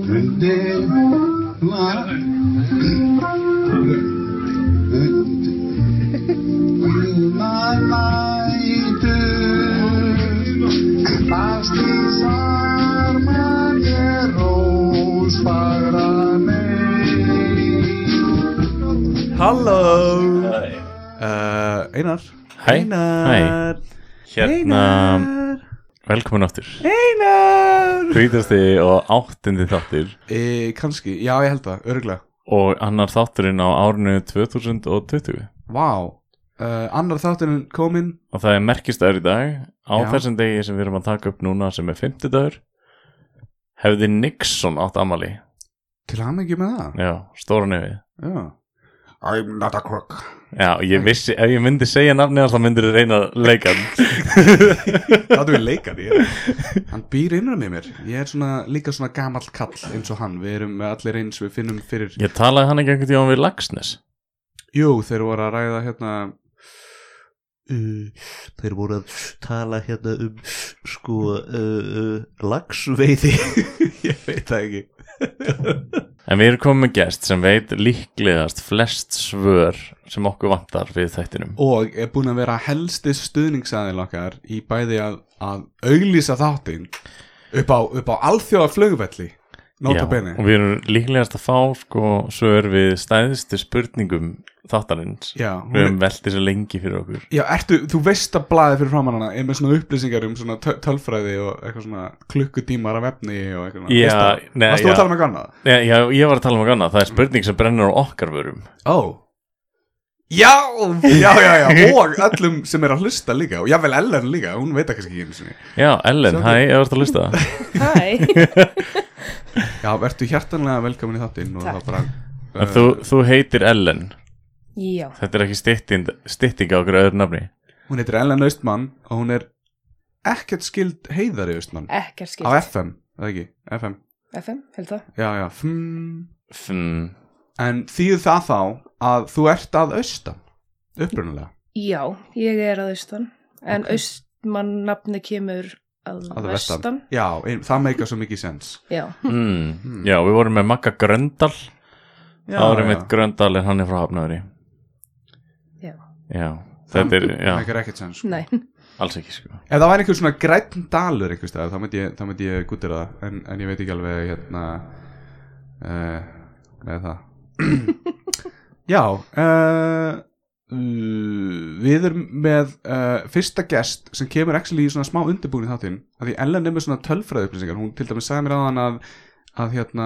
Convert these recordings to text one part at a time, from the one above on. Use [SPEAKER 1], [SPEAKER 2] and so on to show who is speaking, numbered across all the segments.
[SPEAKER 1] Önde var.
[SPEAKER 2] Halló
[SPEAKER 3] Æ,
[SPEAKER 2] uh, Einar
[SPEAKER 3] Hæ.
[SPEAKER 2] Einar
[SPEAKER 3] Hérna,
[SPEAKER 2] Einar
[SPEAKER 3] velkomin áttur
[SPEAKER 2] Einar
[SPEAKER 3] Þrítasti og áttundi þáttur
[SPEAKER 2] e, Kanski, já ég held það, örgulega
[SPEAKER 3] Og annar þátturinn á árinu 2020
[SPEAKER 2] Vá wow. uh, Annar þátturinn kominn
[SPEAKER 3] Og það er merkistagur í dag Á
[SPEAKER 2] Já.
[SPEAKER 3] þessum degi sem við erum að taka upp núna sem er fimmtudagur Hefði Nixon átt amali
[SPEAKER 2] Til hann ekki með það
[SPEAKER 3] Já, stóra nefið
[SPEAKER 2] Já I'm not a crook
[SPEAKER 3] Já, ég vissi, ef ég myndi segja nafnið hans þá myndir þú reyna leikan
[SPEAKER 2] Þáttu við leikan ég. Hann býr innra með mér Ég er svona, líka svona gamall kall eins og hann Við erum allir eins við finnum fyrir
[SPEAKER 3] Ég talaði hann ekki einhvern tíðan við Lagsnes
[SPEAKER 2] Jú, þeir voru að ræða hérna
[SPEAKER 4] uh, þeir voru að tala hérna um sko uh, uh, lagsveiði
[SPEAKER 2] Ég veit það ekki
[SPEAKER 3] En við erum komið með gest sem veit líklegast flest svör sem okkur vantar við þættinum
[SPEAKER 2] og er búin að vera helsti stuðningsæðil okkar í bæði að, að auglýsa þáttinn upp á, upp á alþjóða flugvelli nota
[SPEAKER 3] Já,
[SPEAKER 2] bene
[SPEAKER 3] og við erum líklegast að fá sko svör við stæðstu spurningum þáttarins
[SPEAKER 2] já, hún
[SPEAKER 3] við
[SPEAKER 2] er,
[SPEAKER 3] höfum velt þessu lengi fyrir okkur
[SPEAKER 2] já ertu, þú veist að blaðið fyrir framann hana er með svona upplýsingar um svona töl- tölfræði og eitthvað svona klukkutímar af efni og eitthvað svona.
[SPEAKER 3] Já,
[SPEAKER 2] Veist það?
[SPEAKER 3] nei,
[SPEAKER 2] varstu
[SPEAKER 3] já.
[SPEAKER 2] að tala um með gannað?
[SPEAKER 3] já, já, ég var að tala um eitthvað annað, það er spurning sem brennur á okkar vörum
[SPEAKER 2] ó Já, já, já, já, og öllum sem er að hlusta líka og jável Ellen líka, hún veit það kannski ekki einu sinni
[SPEAKER 3] já, Ellen,
[SPEAKER 2] Sjá
[SPEAKER 3] hæ, ég varst að lusta
[SPEAKER 5] Hæ,
[SPEAKER 2] Já, vertu hjartanlega velkomin í þáttinn og
[SPEAKER 5] Takk.
[SPEAKER 2] það bara
[SPEAKER 3] en þú, þú heitir Ellen
[SPEAKER 5] já,
[SPEAKER 3] þetta er ekki stytting, stytting á okkur öðru nafni
[SPEAKER 2] Hún heitir Ellen Austmann og hún er ekkert skild heiðari Austmann
[SPEAKER 5] ekkert
[SPEAKER 2] á
[SPEAKER 5] skilt
[SPEAKER 2] FM, eða ekki, FM
[SPEAKER 5] FM, held það
[SPEAKER 2] já, já, fmm.
[SPEAKER 3] Fn,
[SPEAKER 2] en þýð það þá að þú ert að austan upprunalega,
[SPEAKER 5] Já, ég er að austan En okay. austmann nafni kemur að,
[SPEAKER 2] að
[SPEAKER 5] vestan.
[SPEAKER 2] vestan já, ein, það meika svo mikið sens
[SPEAKER 5] Já,
[SPEAKER 3] mm, já, við vorum með Magga Gröndal
[SPEAKER 2] Hmm. já,
[SPEAKER 3] það vorum með Gröndal en hann er frá Hafnaðri
[SPEAKER 5] Já.
[SPEAKER 3] já, þetta er,
[SPEAKER 2] það
[SPEAKER 3] já,
[SPEAKER 2] meikar ekkert sens sko.
[SPEAKER 5] nei,
[SPEAKER 3] alls ekki sko
[SPEAKER 2] ef það væri einhver svona græn dalur einhvers staðar, þá myndi ég, þá myndi ég gúttir það en, en ég veit ekki alveg hérna uh, með það Já, uh, við erum með uh, fyrsta gest sem kemur actually í svona smá undirbúin í þáttinn af því Ellen er með svona tölfræði upplýsingar hún til dæmis sagði mér aðan að, að hérna,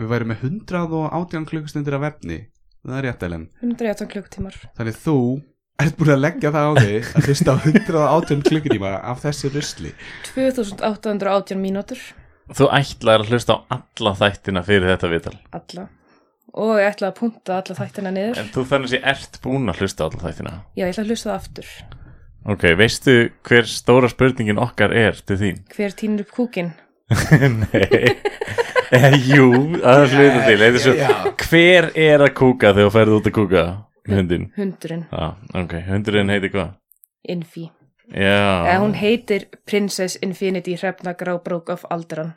[SPEAKER 2] við væri með 100 og 18 klukkustundir af efni það er rétt Ellen
[SPEAKER 5] 118 klukktímar
[SPEAKER 2] þannig þú ert búin að leggja það á þig að hlusta á 100 og 18 klukkutíma af þessu rusli
[SPEAKER 5] 2818 mínútur,
[SPEAKER 3] Þú ætlaðir að hlusta á alla þættina fyrir þetta viðtal
[SPEAKER 5] alla Og ég ætla að punta alla þættina niður
[SPEAKER 3] En þú þannig sé ert búin að hlusta á alla þættina
[SPEAKER 5] Já, ég ætla að hlusta það aftur
[SPEAKER 3] Ok, veistu hver stóra spurningin okkar er til þín?
[SPEAKER 5] Hver týnir upp kúkin?
[SPEAKER 3] Nei eh, Jú, að það hluta til yeah, svo, Hver er að kúka þegar þú ferð út að kúka? Hundin
[SPEAKER 5] Hundurinn,
[SPEAKER 3] ah, Ok, hundurinn heitir hvað?
[SPEAKER 5] Infi Eða
[SPEAKER 3] Já,
[SPEAKER 5] Eh, hún heitir Princess Infinity Hrefna Grábrók of Alderan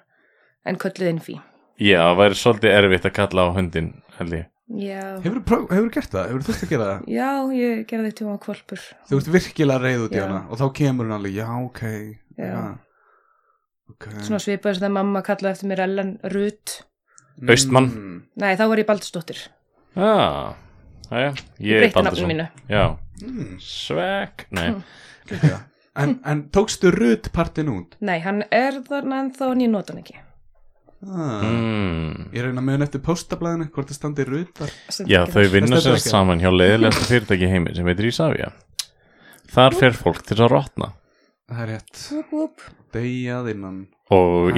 [SPEAKER 5] En kölluð Infi
[SPEAKER 3] já, það væri svolítið erfitt að kalla á hundin held ég
[SPEAKER 5] Já,
[SPEAKER 2] Hefur þú gert það? Hefur þú þurft að gera það?
[SPEAKER 5] já, ég gerði þetta um að kvolpur
[SPEAKER 2] Þú ert virkilega reið út í
[SPEAKER 5] Já.
[SPEAKER 2] hana og þá kemur hún alveg, já, ok Ah.
[SPEAKER 5] Já.
[SPEAKER 2] okay.
[SPEAKER 3] Mm.
[SPEAKER 5] svona svipaði sem það mamma kallaði eftir mér Ellen Rut
[SPEAKER 3] Austmann.
[SPEAKER 2] Mm.
[SPEAKER 5] nei þá var ég Baldursdóttir
[SPEAKER 3] Já, ah, já,
[SPEAKER 5] ég
[SPEAKER 3] ég er
[SPEAKER 5] breytti
[SPEAKER 3] Baldursson
[SPEAKER 5] nafnum mínu
[SPEAKER 3] Já,
[SPEAKER 2] Mm.
[SPEAKER 3] svekk, nei
[SPEAKER 2] Já. En, en tókstu rutt partin út?
[SPEAKER 5] nei hann er þarna en þá en ég nota hann ekki
[SPEAKER 2] Ah.
[SPEAKER 3] mm.
[SPEAKER 2] Ég reyna að muna eftir postablaðinu hvort það standi ruttar
[SPEAKER 5] Sem
[SPEAKER 3] Já,
[SPEAKER 5] ekki
[SPEAKER 3] þau
[SPEAKER 5] þar.
[SPEAKER 3] vinna
[SPEAKER 2] Það stendur
[SPEAKER 3] sér
[SPEAKER 2] ekki.
[SPEAKER 3] saman hjá leiðilegasta fyrirtæki í heimi sem heitir Ísafja. Þar fer fólk til að rotna
[SPEAKER 2] Það er rétt
[SPEAKER 5] Vúp, vúp.
[SPEAKER 2] Deyjað innan
[SPEAKER 3] og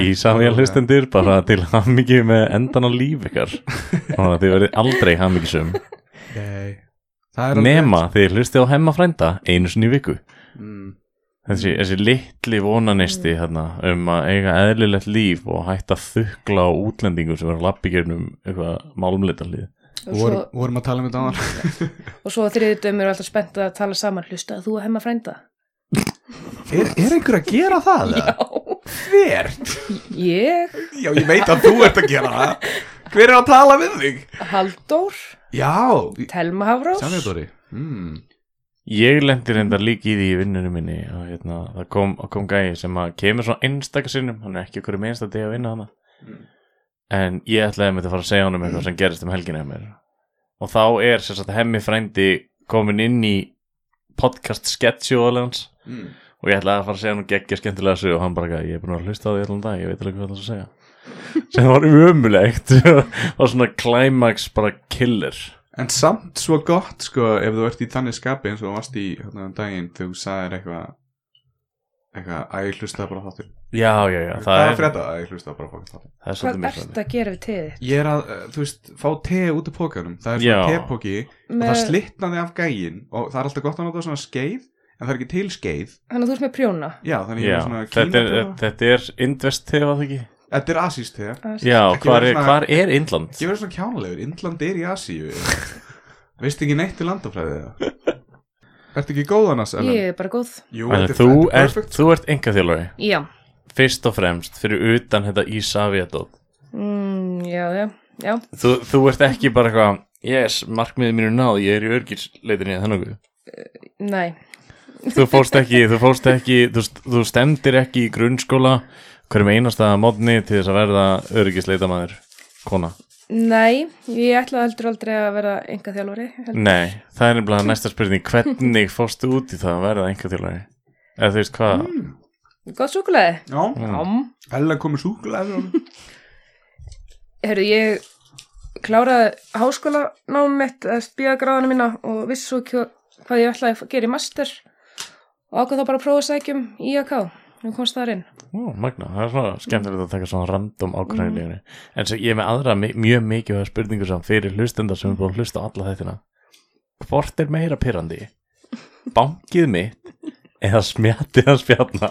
[SPEAKER 2] Æ,
[SPEAKER 3] Ísafja
[SPEAKER 2] alveg.
[SPEAKER 3] hlustendur bara til hammingi með endan á líf ykkar og að þið verið aldrei hammingisum
[SPEAKER 2] Nei Það er alveg
[SPEAKER 3] nema þið hlustið á hemmafrænda einu sinni í viku.
[SPEAKER 2] rétt. mm.
[SPEAKER 3] Þessi, þessi litli vonanisti þarna, um að eiga eðlilegt líf og hætta að þukla á útlendingum sem er að lappi gegnum eitthvað málumleitarlið.
[SPEAKER 5] og svo,
[SPEAKER 2] Vorum, vorum að tala um þetta áðan
[SPEAKER 5] og svo þriðið dömur alltaf spennt að tala saman hlusta þú að hemmafrænda
[SPEAKER 2] er, er einhver að gera það?
[SPEAKER 5] já
[SPEAKER 2] hver?
[SPEAKER 5] Ég,
[SPEAKER 2] Já, ég veit að þú ert að gera það Hver er að tala við þig?
[SPEAKER 5] Halldór,
[SPEAKER 2] Já,
[SPEAKER 5] Telma Hafrós
[SPEAKER 2] sannir Dóri mm.
[SPEAKER 3] Ég lendi reyndar líki í því í vinnunum minni og hérna, það kom, það kom gæi sem að kemur svona einstakar sinnum, hann er ekki okkur um einsta degi að vinna hana en ég ætlaði með þetta að fara að segja honum eitthvað sem gerist um helginu hjá mér og þá er sem sagt hemmi frændi komin inn í podcast sketsjóðalans
[SPEAKER 2] Mm.
[SPEAKER 3] og ég ætlaði að fara að segja hann geggja skemmtilega sög og hann bara gæði, ég er búin að hlusta á því allan dag ég veit alveg hvað það er að segja sem var umulegt og svona climax bara killer
[SPEAKER 2] En samt svo gott, sko, ef þú ert í þannig skapi eins og þú varst í hérna um daginn þegar þú sagðir eitthvað eitthvað að ég hlusta bara á þáttur
[SPEAKER 3] já, já, já,
[SPEAKER 2] Hvað er
[SPEAKER 3] það
[SPEAKER 2] að
[SPEAKER 3] er,
[SPEAKER 2] frétta að ég hlusta bara á fólk þáttur?
[SPEAKER 3] það er
[SPEAKER 5] Hvað
[SPEAKER 3] svolítið mér
[SPEAKER 5] ert
[SPEAKER 3] svolítið
[SPEAKER 5] að gera við teðið?
[SPEAKER 2] Ég er að, eh, þú veist, fá te út af pókanum Það er
[SPEAKER 3] Já.
[SPEAKER 2] svona tepóki og það
[SPEAKER 5] Með-
[SPEAKER 2] slitnaði af gægin og það er alltaf gott að nota svona skeið en það er ekki til skeið
[SPEAKER 5] Þannig að þú ert með prjóna
[SPEAKER 2] Já, þannig ég
[SPEAKER 3] Já,
[SPEAKER 2] er svona
[SPEAKER 3] þetta er,
[SPEAKER 2] kínapjóna.
[SPEAKER 3] þetta er Indvest tefa það ekki?
[SPEAKER 2] Þetta er asíst te
[SPEAKER 3] Já,
[SPEAKER 2] Ekki
[SPEAKER 3] hvar
[SPEAKER 2] vera
[SPEAKER 3] er,
[SPEAKER 2] svona-
[SPEAKER 3] hvar er Indland?
[SPEAKER 2] Ekki verið svona kjánalegur, Indland er í Asíu Veist ekki neitt til landafræði það Ertu ekki góðan að selja?
[SPEAKER 5] Ég er bara góð
[SPEAKER 2] Jú,
[SPEAKER 3] Þannig
[SPEAKER 2] þetta
[SPEAKER 3] þú
[SPEAKER 2] þetta sko.
[SPEAKER 3] ert,
[SPEAKER 2] perfect.
[SPEAKER 3] þú ert enga þjálfari
[SPEAKER 5] Já,
[SPEAKER 3] fyrst og fremst fyrir utan þetta Ísaviadótt
[SPEAKER 5] mm, já, já, já
[SPEAKER 3] þú, þú ert ekki bara eitthvað yes, markmiðið mínu er náð, ég er í örgisleitinni þannig að
[SPEAKER 5] Nei,
[SPEAKER 3] þú fórst ekki, þú fórst ekki þú, st- þú stemdir ekki í grunnskóla hverjum einasta mótni til þess að verða örgisleitamæður kona
[SPEAKER 5] nei, ég ætla heldur aldrei að vera enga þjálfari
[SPEAKER 3] nei, það er nefnilega næsta spurning hvernig fórst þú út í það að verða enga þjálfari eða þú veist hvað
[SPEAKER 5] Góð súkulaði
[SPEAKER 2] Já,
[SPEAKER 5] Ám
[SPEAKER 2] Ella komið súkulega
[SPEAKER 5] Herru, ég kláraði háskóla námið mitt, spíða gráðana mína og vissi svo ekki hvað ég ætlaði að gera í master og ákvað þá bara að um prófa að sækjum í AK og komst þar inn.
[SPEAKER 3] Ó, magna, það er svona skemmtilegt að taka svona random ákvæðinleginni en svo ég er með aðra mi- mjög mikið spurningu sem fyrir hlustenda sem er búin að hlusta á alla þættina hvort er meira pyrrandi bankið mitt eða smjatið að spjatna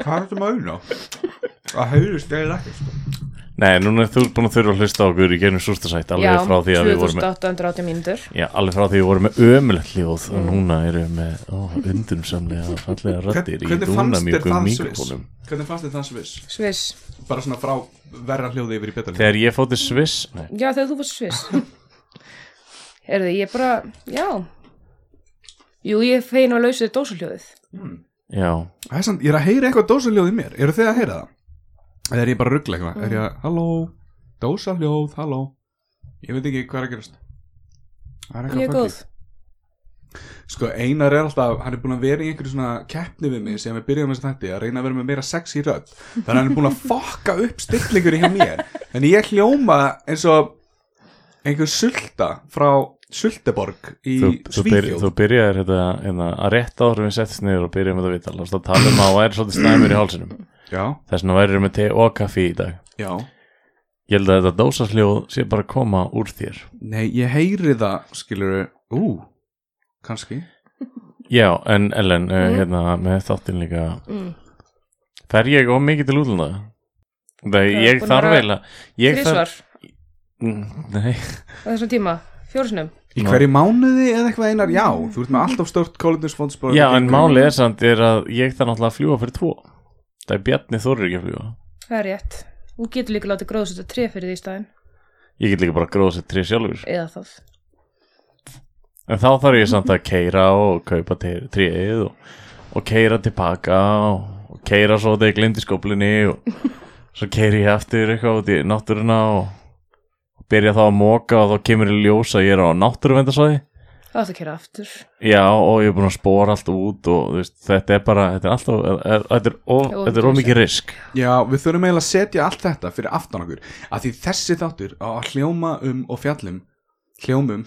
[SPEAKER 2] Hvað er þetta maður ná? Það heyrist eða ekki sko.
[SPEAKER 3] nei, núna er þú búin að þurfa að hlusta á okkur í genum sústasætt alveg frá því að við vorum með
[SPEAKER 5] 2880 mínútur.
[SPEAKER 3] já, alveg frá því að við vorum með ömulegt hljóð og núna erum við með ó, undumsamlega fallega rættir í
[SPEAKER 2] Hvernig fannst þér
[SPEAKER 3] dúnamjúkum
[SPEAKER 2] þann sviss?
[SPEAKER 3] mikrofónum
[SPEAKER 2] Hvernig fannst þér þann sviss?
[SPEAKER 5] Sviss.
[SPEAKER 2] Bara svona frá verra hljóði yfir í betra hljóði
[SPEAKER 3] þegar ég fótti Sviss nei,
[SPEAKER 5] Já, þegar þú fórst sviss. Herru, ég bara, já. Jú, ég fein að lausa þér dósuljóðið.
[SPEAKER 3] já,
[SPEAKER 2] Það er samt, Ég er að heyra eitthvað dósaljóð í mér Eru þið að heyra það? Eða er ég bara að ruggla eitthvað? Er ég að, halló, dósaljóð, halló Ég veit ekki hvað er að gerast Það er eitthvað
[SPEAKER 5] Ég er
[SPEAKER 2] funky.
[SPEAKER 5] góð.
[SPEAKER 2] Sko Einar er alltaf, hann er búin að vera í einhverju svona keppni við mig sem við byrjuðum þess að þetta að reyna að vera með meira sex í rödd þannig að hann er búin að fokka upp stillingur hjá mér en ég hljóma eins og einhver sulta frá Sulteborg í
[SPEAKER 3] þú, þú, byr,
[SPEAKER 2] Svíþjóð
[SPEAKER 3] þú byrjaðir þetta, hérna, að rétt áður en við settist niður og byrjaðum þetta vital og það tala um að það væri svolítið slæmur í hálsinum
[SPEAKER 2] Já,
[SPEAKER 3] þess vegna væri með te og kaffi í dag
[SPEAKER 2] já
[SPEAKER 3] ég held að þetta dósasljóð sé bara að koma úr þér
[SPEAKER 2] Nei, ég heyri það, skilur Ú, kannski
[SPEAKER 3] já, en Ellen, mm. hérna, með þáttinn líka
[SPEAKER 5] Mm.
[SPEAKER 3] fer ég of mikið til útlanda það
[SPEAKER 5] Já,
[SPEAKER 3] ég
[SPEAKER 5] búin að
[SPEAKER 3] þarf
[SPEAKER 5] vera
[SPEAKER 3] eiginlega ég
[SPEAKER 5] Þrísvar
[SPEAKER 3] Mm, nei,
[SPEAKER 5] á þessum tíma. Fjórsnum.
[SPEAKER 2] Í
[SPEAKER 3] Nú.
[SPEAKER 2] hverju mánuði eða eitthvað Einar, já Þú ert með alltaf stort kólundisfónspor
[SPEAKER 3] já, en málið er samt er að ég þarf náttúrulega að fljúa fyrir tvo það er Bjarni Þórir ekki að fljúa
[SPEAKER 5] Það er rétt. Þú getur líka látið gróðsett að fyrir því í staðin.
[SPEAKER 3] ég get líka bara að gróða sér tri sjálfur
[SPEAKER 5] Eða það.
[SPEAKER 3] En þá þarf ég samt að keira og kaupa tríið og, og keira tilbaka og, og keira svo þegar ég glemdi skóplinni og svo keiri ég eftir eitthvað út í náttúruna og, og byrja þá að móka og þá kemur ég ljós að ég er á náttúruvendasvæði
[SPEAKER 5] Það átt að kera aftur.
[SPEAKER 3] Já og ég er búin að spora allt út og þú veist, þetta er bara, þetta er alltaf, er, þetta er of,
[SPEAKER 5] Of
[SPEAKER 3] þetta er of mikið risk
[SPEAKER 2] Já, við þurfum eiginlega að setja allt þetta fyrir aftan okkur að því þessi þáttur á að hljóma um og fjallum hljómum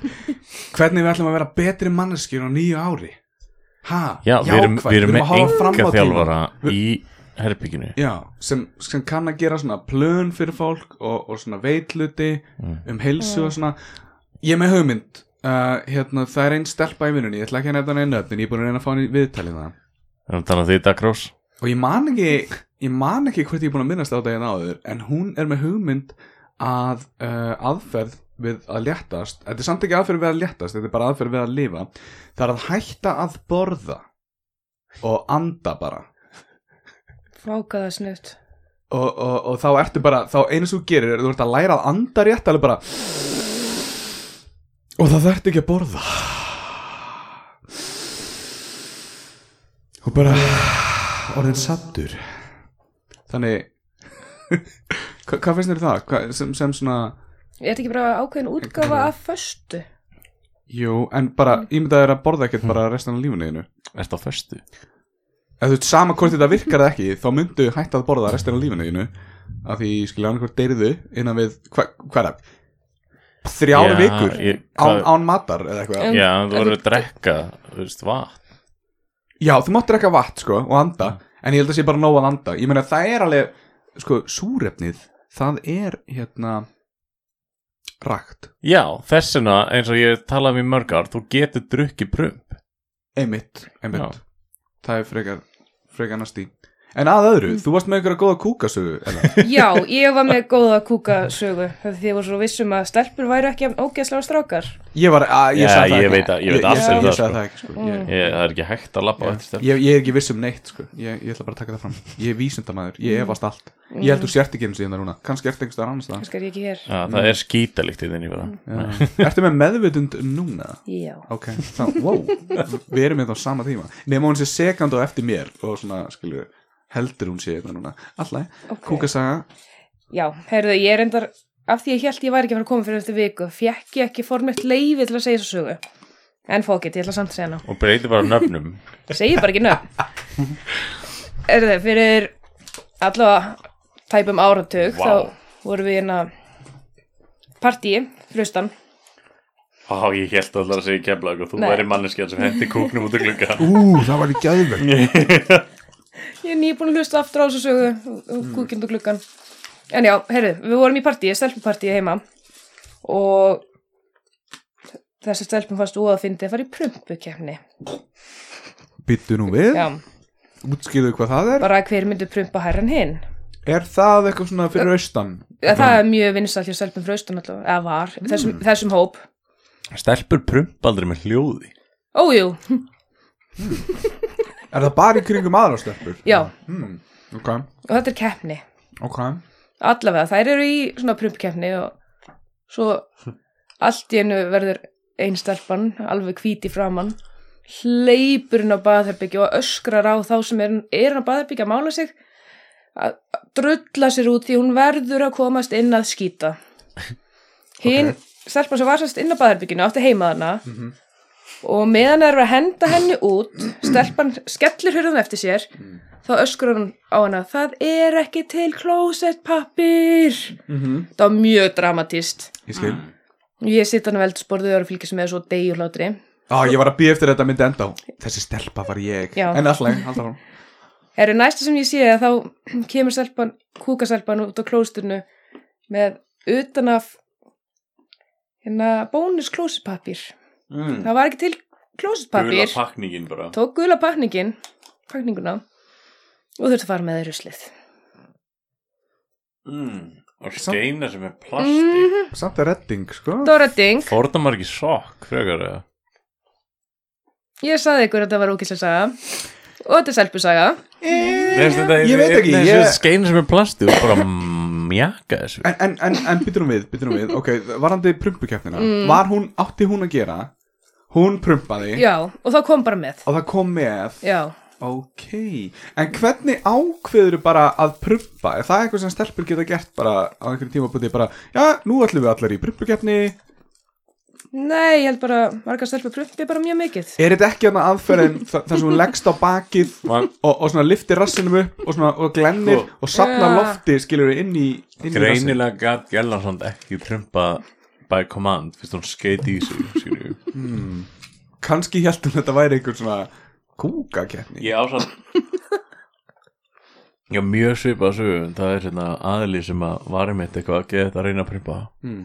[SPEAKER 2] hvernig við ætlum að vera betri manneskjur á nýju ári ha,
[SPEAKER 3] Já, við erum,
[SPEAKER 2] jákvætt,
[SPEAKER 3] við erum
[SPEAKER 2] að
[SPEAKER 3] með
[SPEAKER 2] horfa fram á
[SPEAKER 3] enga þjálfara
[SPEAKER 2] tímann.
[SPEAKER 3] í herbygginu
[SPEAKER 2] Já, sem, sem kann að gera svona plön fyrir fólk og, og svona veitluti
[SPEAKER 3] Mm.
[SPEAKER 2] um heilsu og svona ég er með hugmynd uh, hérna, það er einn stelpa í vinnunni, ég ætla ekki að nefna henni nöfn en ég er búin að reyna að fá henni viðtalið það
[SPEAKER 3] Þannig að um þetta krós
[SPEAKER 2] og ég man ekki ég man ekki hvort ég er búin að minnast á daginn áður en hún er með hugmynd að uh, aðferð við að léttast þetta er samt ekki aðferð við að léttast þetta er bara aðferð við að lifa það er að hætta að borða og anda bara
[SPEAKER 5] vákaða snuðt
[SPEAKER 2] og, og, og þá ertu bara þá einu sem þú gerir er þú ert að læra að anda rétt alveg bara og það þarf ekki að borða og bara orðin sattur þannig hva, hvað finnst þér um það hva, sem, sem svona
[SPEAKER 5] Ég ætti ekki bara ákveðin útgafa af föstu
[SPEAKER 2] jú, en bara ímyndaður að borða ekkert bara restan af lífinu þínu
[SPEAKER 3] Ertu á föstu?
[SPEAKER 2] ef þú sama hvort þetta virkar eða ekki þá myndu hætta að borða restan af lífinu þínu af því skilja hann hvort deyrðu innan við, hva, hvað er það? þrjár
[SPEAKER 3] Já,
[SPEAKER 2] vikur
[SPEAKER 3] ég-
[SPEAKER 2] án,
[SPEAKER 3] hvað-
[SPEAKER 2] án matar eða eitthvað
[SPEAKER 5] En-
[SPEAKER 3] Já, en þú
[SPEAKER 5] en-
[SPEAKER 3] voru að drekka, þú veist, vatn
[SPEAKER 2] já, þú mátt drekka vatn sko og anda en ég held að sé bara nóg að anda ég meina það er alveg, sko, súrefnið það er hérna rakt,
[SPEAKER 3] Já, þessina, eins og ég talaði um í mörg ár, þú getur drukkið prump
[SPEAKER 2] einmitt, einmitt.
[SPEAKER 3] Já.
[SPEAKER 2] það er frekar frekar næstí en að öðru, þú varst með einhverja góða kúkasögu eða?
[SPEAKER 5] Já, ég var með góða kúkasögu af því ég var svo viss um að stelpur væru ekki ógeðslega strákar
[SPEAKER 2] ég var, að, ég
[SPEAKER 3] Já,
[SPEAKER 2] sagði það
[SPEAKER 3] ég
[SPEAKER 2] ekki.
[SPEAKER 3] veit að- ég veit
[SPEAKER 2] ég,
[SPEAKER 3] alls
[SPEAKER 2] ég,
[SPEAKER 3] um
[SPEAKER 2] ég
[SPEAKER 3] það,
[SPEAKER 2] sagði
[SPEAKER 3] sko.
[SPEAKER 2] það ekki sko. ég,
[SPEAKER 3] ég, Það er ekki hægt að labba á eftir stelpu
[SPEAKER 2] ég, ég er ekki viss um neitt sko. ég, ég ætla bara að taka það fram ég er vísindamæður,
[SPEAKER 5] Mm.
[SPEAKER 2] ég efast allt ég held þú sért ekki eins og ég það núna, kannski ert einhverstaðar annars það
[SPEAKER 5] Kannski er ég ekki hér
[SPEAKER 3] Já, það er skítalikt í þinni bara
[SPEAKER 2] Já. Ertu með meðvitund núna?
[SPEAKER 5] Já,
[SPEAKER 2] Ok, þá, wow Við erum hérna á sama tíma Nefnum hún sé sekund á eftir mér og svona, skilju, heldur hún sé þetta núna Alltaf,
[SPEAKER 5] ok
[SPEAKER 2] kúkasaga
[SPEAKER 5] Já, heyrðu, ég er endar af því ég held ég væri ekki að fara að koma fyrir eftir viku fekk ég ekki formett leifi til að segja þessu sögu En fókitt, ég ætla samt að segja hana
[SPEAKER 3] Og breytir bara nöfnum
[SPEAKER 5] Segir bara ekki nöfn Er það fyrir allavega tæpum áratug
[SPEAKER 3] Vá.
[SPEAKER 5] þá vorum við hérna partíi, frustan
[SPEAKER 3] Á, ég held allar að segja kemla og þú
[SPEAKER 5] Nei.
[SPEAKER 3] væri manneskjan sem hendi kúknum út í glugga
[SPEAKER 2] Ú, það var í gæðveg
[SPEAKER 5] Ég er nýbúin að hlusta aftur á þessu sögu kúkind og gluggan En já, heyrðu, við vorum í partíi, stelpupartíi heima og þessi stelpum fannst úða að fyndi að fara í prumpukefni
[SPEAKER 2] Byttu nú við,
[SPEAKER 5] Já,
[SPEAKER 2] útskýrðu hvað það er
[SPEAKER 5] bara hver myndi prumpa hærra en hinn
[SPEAKER 2] Er það eitthvað svona fyrir austan?
[SPEAKER 5] Eða Það er mjög vinsalt hjá stelpum frustan allavega, eða var, þessum, þessum hóp
[SPEAKER 3] Stelpur prump aldrei með hljóði
[SPEAKER 5] Ójú,
[SPEAKER 2] Er það bara í kringum aðra stelpur?
[SPEAKER 5] já,
[SPEAKER 2] hmm. Ok,
[SPEAKER 5] og þetta er keppni
[SPEAKER 2] ok
[SPEAKER 5] allavega, þær eru í svona prumpkeppni og svo allt í einu verður ein stelpan alveg hvíti framann hleypur inn á baðherbyggja og öskrar á þá sem er, er inn á baðherbyggja að mála sig að að drulla sér út því hún verður að komast inn að skýta hinn stelpan sem var sérst inn á baðherbyggjunu átti heima hana og meðan það eru að henda henni út stelpan skellir hurðum eftir sér þá öskur hann á hana það er ekki til klósettpappir það var mjög dramatíst
[SPEAKER 2] Ég skil
[SPEAKER 5] ég sitt hann á eldsporðu og er að fylgja sem er svo degjulátri
[SPEAKER 2] Á, Ah, ég var að býja eftir að þetta myndi enda á Þessi stelpa var ég
[SPEAKER 5] Já.
[SPEAKER 2] En alltaf, alltaf hún
[SPEAKER 5] er næsta sem ég sé að þá kemur stelpan, kúkaselpan út á klósturnu með utan af hérna bónus klósettpappir það var ekki til klósettpappir
[SPEAKER 3] pakningin Mm, bara
[SPEAKER 5] tók gula pakningin pakninguna og þurfti að fara með þeir ruslið
[SPEAKER 3] mm. Og
[SPEAKER 2] Samt-
[SPEAKER 3] steina sem er plasti
[SPEAKER 5] Mhm.
[SPEAKER 2] Samt er redding, sko
[SPEAKER 5] það var redding
[SPEAKER 3] Fordamar ekki sokk, frekar eða
[SPEAKER 5] Ég saði ykkur að þetta var ókýrslega saga og þetta er selpusaga
[SPEAKER 2] Eh, Ég veit ekki,
[SPEAKER 3] Þessi
[SPEAKER 2] ég-
[SPEAKER 3] steina sem er plasti og bara mjaka þessu
[SPEAKER 2] En, en, en, en býtur hún við, býtur hún við Ok, varandi prumpukeppnina Var hún, átti hún að gera Hún prumpaði
[SPEAKER 5] Mm. Já, og þá kom bara með
[SPEAKER 2] Og það kom með
[SPEAKER 5] Já,
[SPEAKER 2] Ok, en hvernig ákveður bara að prumpa? Er það eitthvað sem stelpur geta gert bara á einhverjum tímapunkti bara, já, nú ætlum við allar í prumpukeppni
[SPEAKER 5] nei, ég held bara margar stelpur prumpi bara mjög mikið
[SPEAKER 2] Er þetta ekki hann aðferðin þar þar sem hún leggst á bakið
[SPEAKER 3] Man-
[SPEAKER 2] og, og svona liftir rassinum upp og svona og glennir
[SPEAKER 3] Sko.
[SPEAKER 2] og sapnar
[SPEAKER 5] Ja.
[SPEAKER 2] lofti skilur við inn í, inn í rassin
[SPEAKER 3] Greinilega gæt Gjellarsson ekki trumpa by command fyrst hún skeiti í sig skilju.
[SPEAKER 2] Kanski held hún að þetta væri einhver svona kúkakeppni
[SPEAKER 3] Ég ásamt Já, mjög svipað sögum það er hérna aðli sem að var einmitt eitthvað að geða þetta að reyna að prumpa
[SPEAKER 2] Mm.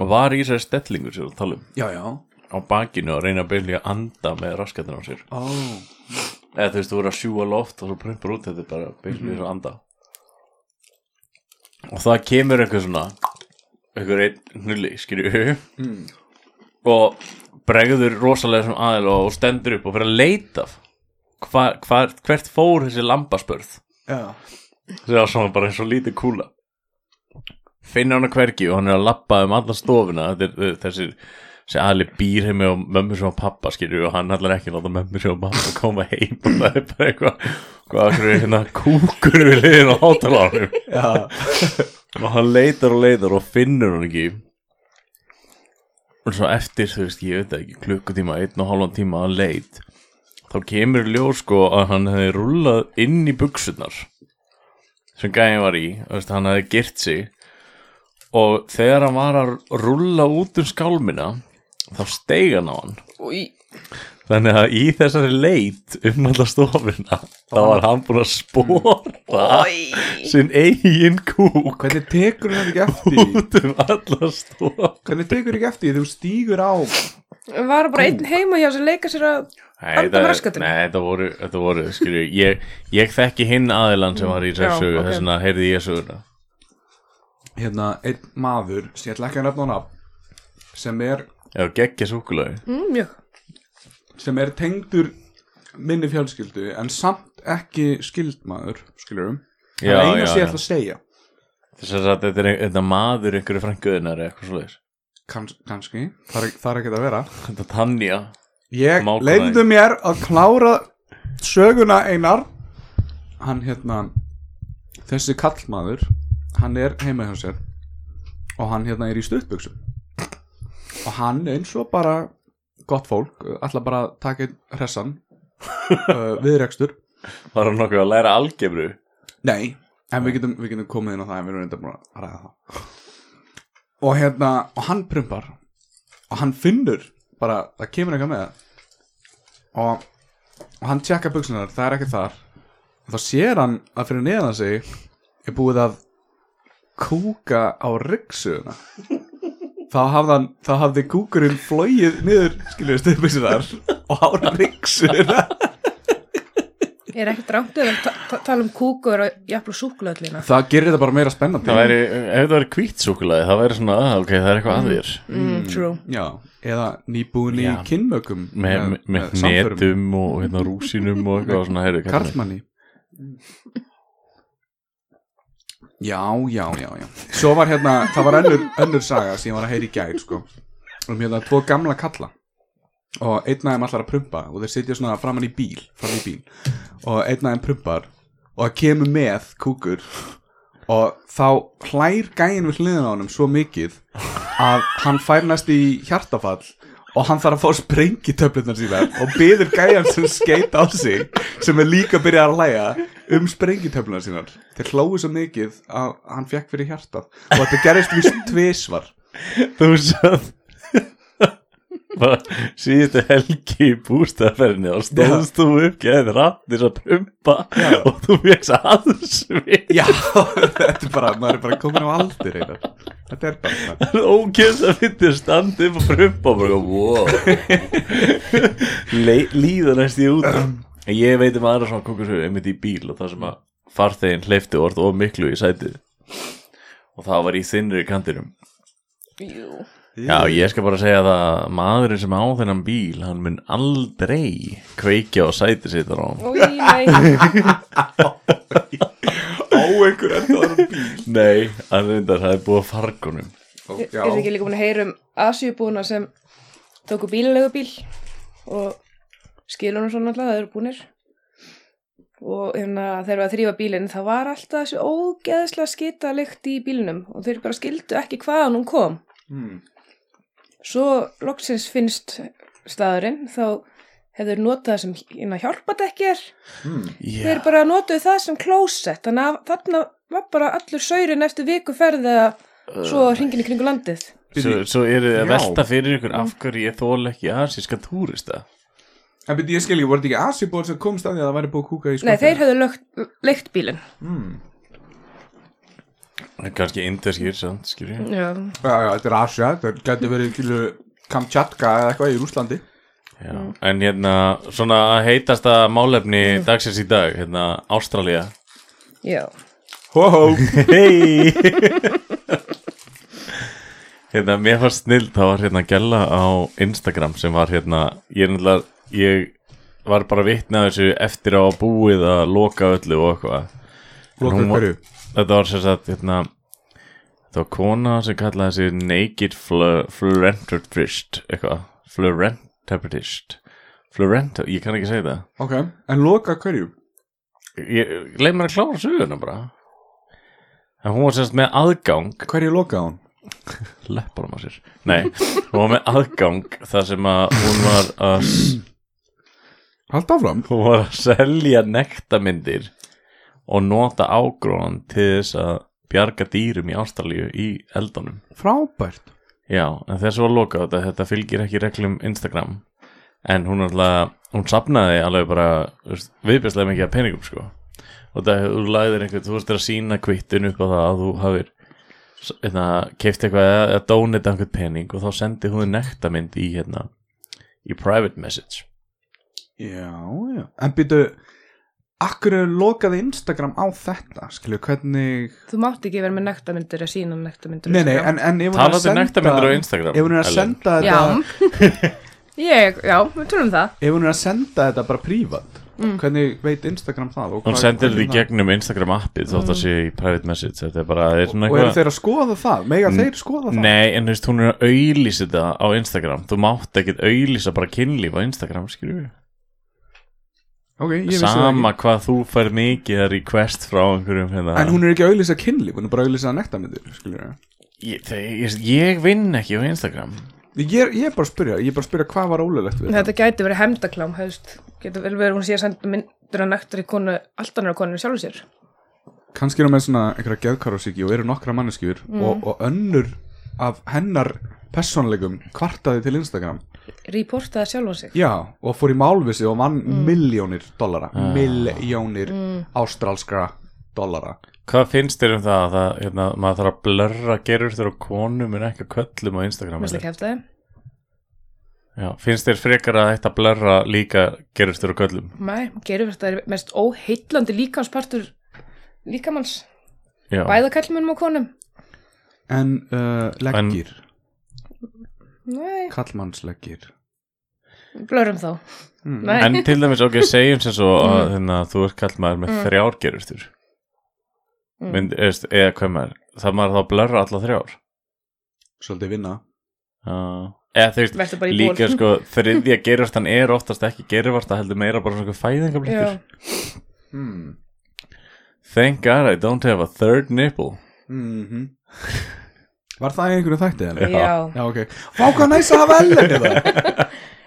[SPEAKER 3] og var í þessari stellingur sér að tala um
[SPEAKER 2] Já, já,
[SPEAKER 3] á bakinu og reyna að byrja að anda með raskatina á sér
[SPEAKER 2] ó
[SPEAKER 3] eða þú veist, þú verður að sjúga loft og svo prumpar út þetta er bara byrja mm. að anda og það kemur eitthvað svona eitthvað einn nulli, skilju
[SPEAKER 2] mm.
[SPEAKER 3] og bregður rosalega sem aðil og stendur upp og fyrir að leita hva, hva, hvert fór þessi lambaspörð
[SPEAKER 2] Já.
[SPEAKER 3] Það er svona bara eins og lítið kúla Finnur hann hvergi og hann er að lappa um alla stofuna Þetta er- þetta er þessi þessi aðli býr heimi og mömmu sem og pappa skilur og hann allar ekki að láta mömmu sem og pappa koma heim og það er bara eitthvað hvað akkur er hérna kúkur við liðin á hátalarnum
[SPEAKER 2] Já.
[SPEAKER 3] og hann leitar og leitar og finnur hann ekki og svo eftir þú veist ég veit það ekki klukkutíma, einn og hálfan tíma að leit þá kemur í ljós sko að hann hefði rúllað inn í buksunar sem gæði var í þú veist, hann hefði girt sig og þegar hann var að rúlla út um skálmina þá steig hann á hann
[SPEAKER 5] Új,
[SPEAKER 3] þannig að í þessari leit um alla stofuna þá
[SPEAKER 5] Ah.
[SPEAKER 3] var hann búin að spora sinn eigin kúk
[SPEAKER 2] Hvernig tekur hann ekki eftir því?
[SPEAKER 3] út um alla stofuna
[SPEAKER 2] Hvernig tekur ekki eftir því þegar þú stígur á
[SPEAKER 5] var bara einn heima hjá sem leika sér að
[SPEAKER 3] Nei,
[SPEAKER 5] Anda með
[SPEAKER 3] það-
[SPEAKER 5] raskatunni.
[SPEAKER 3] nei, þetta voru, þetta voru skilju, ég, ég þekki hinn aðilan sem var í
[SPEAKER 5] Já,
[SPEAKER 3] þessu,
[SPEAKER 5] ok.
[SPEAKER 3] þess vegna heyrði ég söguna
[SPEAKER 2] hérna einn maður sem ég ætla ekki að nefna hann af sem er,
[SPEAKER 3] Já, geggja súkulagi
[SPEAKER 5] mm, mjög
[SPEAKER 2] sem er tengdur minni fjölskyldu en samt ekki skildmaður skiljurum, það
[SPEAKER 3] Já,
[SPEAKER 2] er eina
[SPEAKER 3] já,
[SPEAKER 2] sem ég
[SPEAKER 3] já.
[SPEAKER 2] ætla að segja
[SPEAKER 3] Þess að þetta er ein- þetta er maður einhverju frænguðinar eða eitthvað svoleiðis
[SPEAKER 2] Kans, kannski, það er, það er ekki að vera
[SPEAKER 3] Þetta er Tanja
[SPEAKER 2] ég
[SPEAKER 3] Mákona
[SPEAKER 2] leifðu
[SPEAKER 3] þín.
[SPEAKER 2] mér að klára söguna einar hann hérna þessi kallmaður hann er heima hjá sér og hann hérna er í stuttbuxum og hann eins og bara gott fólk, ætla bara að taka einn hressan uh, viðrekstur
[SPEAKER 3] Var hann nokkuð að læra algebru?
[SPEAKER 2] Nei, en við getum, við getum komið inn á það en við erum reynda búin að ræða það og hérna, og hann prumpar og hann finnur bara, það kemur eitthvað með það og, og hann tjekka buksunar það er ekki þar og þá sér hann að fyrir neðan sig er búið að kúka á ryggsuguna þá hafði hann, þá hafði kúkurinn flóið niður, skiljum við stuðbuksunar og á ryggsuguna
[SPEAKER 5] Ég er ekkert rámt að ta ta tala um kúkur og jafnvel súkulöðlina.
[SPEAKER 2] það gerir þetta bara meira spennandi
[SPEAKER 3] Það væri, ef þetta væri hvít súkulagi, það væri svona, að, ok, það er eitthvað að þér
[SPEAKER 5] Mm, true.
[SPEAKER 2] Já, eða nýbúin í
[SPEAKER 3] Já.
[SPEAKER 2] kynmökum
[SPEAKER 3] Með, með, með netum og hérna, rúsinum og eitthvað og svona, heyrðu, kallinn minn.
[SPEAKER 2] Karlmanni Já, já, já, já Svo var hérna, það var önnur, önnur saga sem ég var að heyra í gær, sko um hérna tvo gamla kalla og einn af þeim allar að prumpa og þeir sitja svona framan í bíl, framan í bíl og einn af þeim prumpar og það kemur með kúkur og þá hlær gæin við hliðin á honum svo mikið að hann fær næst í hjartafall og hann þarf að fá sprengi töflunar síðan og byður gæjan sem skeit á sig sem er líka að byrja að hlæja um sprengi töflunar sínar þeir hlóðu svo mikið að hann fekk fyrir hjartað og þetta gerist víst tvisvar
[SPEAKER 3] Þú sað síðustu helgi í bústaferinni og stóðst þú upp geðið rattir að pumpa og þú veist aðsvið
[SPEAKER 2] Já, þetta er bara, maður er bara komin á aldur einar Þetta er bara það
[SPEAKER 3] ókjöfs að fyrir standi upp og prumpa og bara wow. Le líða næst í út En ég veit um aðra svona konkursu einmitt í bíl og það sem að farþegin hleyfti og orð og miklu í sætið og það var í þinnri kantinum
[SPEAKER 5] Jú.
[SPEAKER 3] Já, ég skal bara segja það að maðurinn sem á þennan bíl, hann mun aldrei kveikja og sæti sitt á hann.
[SPEAKER 5] Új, nei.
[SPEAKER 2] Á einhver endaður um bíl
[SPEAKER 3] Nei, hann reyndar, það er búið að fargunum.
[SPEAKER 5] Ég ég
[SPEAKER 2] Já,
[SPEAKER 5] er ekki líka búin að heyra um Asjubúna sem tóku bílalegu og skilunum svona alltaf, það eru búnir. Og hérna þegar við að þrýfa bílinn, það var alltaf þessi ógeðslega skita lykt í bílinum og þeir bara skildu ekki hvaðan hún kom.
[SPEAKER 2] mm.
[SPEAKER 5] Svo loksins finnst staðurinn, þá hefur notað það sem hérna hjálpadekki er.
[SPEAKER 3] Já,
[SPEAKER 5] Þeir bara notuðu það sem klósett, þannig að þarna var bara allur saurin eftir vikuferð eða svo hringin í kringu landið.
[SPEAKER 3] svo, svo eru þið
[SPEAKER 2] Já.
[SPEAKER 3] að velta fyrir ykkur af hverju ég þól ekki asíska túrista.
[SPEAKER 2] En byrja, ég skil ekki, voru þetta ekki Asibor sem komst að því að það væri búið að kúka í
[SPEAKER 5] Nei,
[SPEAKER 2] skottinu?
[SPEAKER 5] þeir höfðu lögt, leikt bílinn.
[SPEAKER 3] Það er kannski indeskir, sant, skilur ég.
[SPEAKER 5] Já.
[SPEAKER 2] Já, já, þetta er Asja, þetta gæti verið kýlu Kamchatka eða eitthvað í Rúslandi
[SPEAKER 3] Já. En hérna, svona að heitasta málefni dagsins í dag, hérna, Ástralía.
[SPEAKER 5] Já.
[SPEAKER 2] Hó, hó
[SPEAKER 3] Hei Hérna, mér var snill Það var hérna gælla á Instagram sem var hérna Ég, er náttúrulega- ég var bara vitna þessu eftir á að búið að loka öllu og eitthvað
[SPEAKER 2] Lokar
[SPEAKER 3] Hún var-
[SPEAKER 2] hverju?
[SPEAKER 3] Þetta var sem sagt hérna, Þetta var kona sem kallaði sig Naked Fl- Flurenterist Eitthvað Flurenterist Flurenter, ég kann ekki segja það
[SPEAKER 2] Ok, en lokar hverju?
[SPEAKER 3] ég, Leif mér að klára söguna bara En hún var semst með aðgang
[SPEAKER 2] Hverju lokaði hún?
[SPEAKER 3] Lepparum á sér Nei, hún var með aðgang þar sem að hún var að
[SPEAKER 2] Halda áfram
[SPEAKER 3] Hún var að selja nektamyndir Og nota ágróðan til þess að bjarga dýrum í Ástralíu í eldunum
[SPEAKER 2] Frábært
[SPEAKER 3] Já, en þessu var lokað þetta, þetta fylgir ekki reglum Instagram en hún alltaf, hún sapnaði alveg bara viðbjörnslega mikið að peningum sko og það þú lagðir einhvern, þú veist þér að sína kvittin upp á það að þú hafir hérna, keift eitthvað eða, eða dónita einhvern pening og þá sendi hún nektamynd í hérna, í private message
[SPEAKER 2] Já, já En býtu Akkur lokaði Instagram á þetta Skilju, hvernig
[SPEAKER 5] Þú mátt ekki vera með nektamyndir að sína nektamyndir
[SPEAKER 2] Nei, nei, en, en ef hún er að
[SPEAKER 3] Talaðu
[SPEAKER 2] senda
[SPEAKER 3] nektamyndir um á Instagram
[SPEAKER 2] Ef hún er að
[SPEAKER 3] Ellen.
[SPEAKER 2] senda
[SPEAKER 5] sko. Já,
[SPEAKER 2] þetta
[SPEAKER 5] ég, já, við tölum um það
[SPEAKER 2] Ef hún er að senda þetta bara prívat Hvernig veit Instagram það? og
[SPEAKER 3] Hún
[SPEAKER 2] hvað-
[SPEAKER 3] sendir þetta
[SPEAKER 2] hvernig
[SPEAKER 3] í
[SPEAKER 2] það- Mm.
[SPEAKER 3] gegnum Instagram appið þótt að sé í private message þetta er bara, þetta er svona
[SPEAKER 2] Og eru þeir að skoða það? Mega þeir skoða það?
[SPEAKER 3] Nei, en þú veist, hún er að auðlýsa þetta á Instagram Þú mátt ekkert auðlýsa bara kynlíf á Instagram, skilur við
[SPEAKER 2] Ok, ég vissi það
[SPEAKER 3] Sama
[SPEAKER 2] ekki
[SPEAKER 3] hvað þú fær mikið að request frá einhverjum hérna
[SPEAKER 2] En hún er ekki að auðlýsa kynlíf, hún er bara að auðlýsa nektamindir, skiljur ég.
[SPEAKER 3] ég, þeg, ég, ég vinn ekki á Instagram
[SPEAKER 2] Ég er ég er bara að spyrja, ég er bara að spyrja hvað var ólulegt við
[SPEAKER 5] Þetta gæti verið hemdaklám, hefst Getur vel verið hún sé að senda myndir að nektar í konu allt annar konu en sjálfur sér
[SPEAKER 2] kannski erum við svona einhverja geðkarosíki og eru nokkra manneskjur
[SPEAKER 5] Mm.
[SPEAKER 2] og, og önnur af hennar personlegum kvartaði til Instagram
[SPEAKER 5] Reportaði sjálfa sig
[SPEAKER 2] já, og fór í málvisi og vann
[SPEAKER 5] Mm.
[SPEAKER 2] miljónir dollara, miljónir ástralskra dollara
[SPEAKER 3] Hvað finnst þér um það að það, hérna, maður þarf að blörra gerur þegar konum er ekki að köllum á Instagram
[SPEAKER 5] Mér
[SPEAKER 3] eða?
[SPEAKER 5] slik hefði það
[SPEAKER 3] Já, Finnst þér frekar að þetta blörra líka gerur þegar köllum?
[SPEAKER 5] Nei, gerir þetta er mest óheillandi líkamspartur líkamanns
[SPEAKER 3] Já,
[SPEAKER 5] Bæða kallmennum og konum
[SPEAKER 2] en uh, leggir,
[SPEAKER 5] Nei,
[SPEAKER 2] kallmannsleggir
[SPEAKER 5] blörum þá
[SPEAKER 2] Hmm.
[SPEAKER 5] Nei,
[SPEAKER 3] En til dæmis, ok, segjum sem svo að hérna, þú ert kallt maður með þrjár gerustur
[SPEAKER 5] Mm.
[SPEAKER 3] Mynd, eðst, eða hvað maður, það maður þá að blörra alla þrjár
[SPEAKER 2] svolítið vinna
[SPEAKER 3] uh, eða þú veist,
[SPEAKER 5] verður bara í
[SPEAKER 3] líka
[SPEAKER 5] ból
[SPEAKER 3] sko þriðja gerustan er oftast ekki geruvarta heldur meira bara svona
[SPEAKER 5] Já,
[SPEAKER 3] fæðingablíkur
[SPEAKER 2] mm.
[SPEAKER 3] Thank God I don't have a third nipple
[SPEAKER 2] Mm var það í einhverju þætti
[SPEAKER 5] já.
[SPEAKER 2] henni? já, ok, vá hvað næs að hafa ellen í það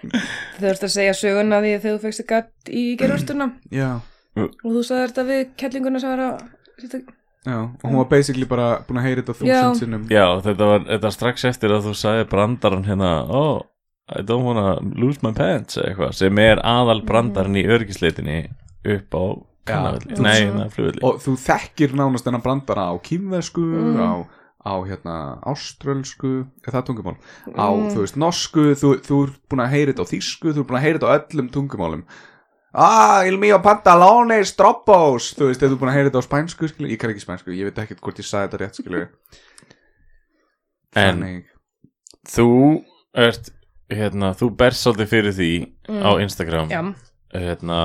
[SPEAKER 5] þú þurft að segja söguna af því þegar þú fegst þig gatt í gerurstuna
[SPEAKER 2] já,
[SPEAKER 5] og þú sagði þetta við kellinguna sem var að setja-
[SPEAKER 2] já, og hún var basically bara búin að heyra þetta
[SPEAKER 5] Já.
[SPEAKER 2] þúsund sinnum
[SPEAKER 3] Já, þetta var þetta var strax eftir að þú sagði brandaran hérna Oh, I don't wanna lose my pants eða eitthvað sem er aðal brandaran
[SPEAKER 5] Mhm.
[SPEAKER 3] í örgisleitinni upp á kannavelli, nei, hérna flugvelli
[SPEAKER 2] og þú þekkir nánast þennan brandara á kýmversku,
[SPEAKER 5] Mm.
[SPEAKER 2] á, á hérna áströlsku, er það tungumál á
[SPEAKER 5] Mm.
[SPEAKER 2] þú veist norsku, þú, þú er búin að heyra þetta á þýsku, þú er búin að heyra þetta á öllum tungumálum Ah, il mio pantalone stroppos Þú veist, ef þú er búin að heyra þetta á spænsku skilur, Ég kann ekki spænsku, ég veit ekkert hvort ég sagði þetta rétt skilur
[SPEAKER 3] En-
[SPEAKER 2] Þannig,
[SPEAKER 3] þú ert hérna, þú berst svolítið fyrir því á Instagram
[SPEAKER 5] Mm. Já,
[SPEAKER 3] hérna,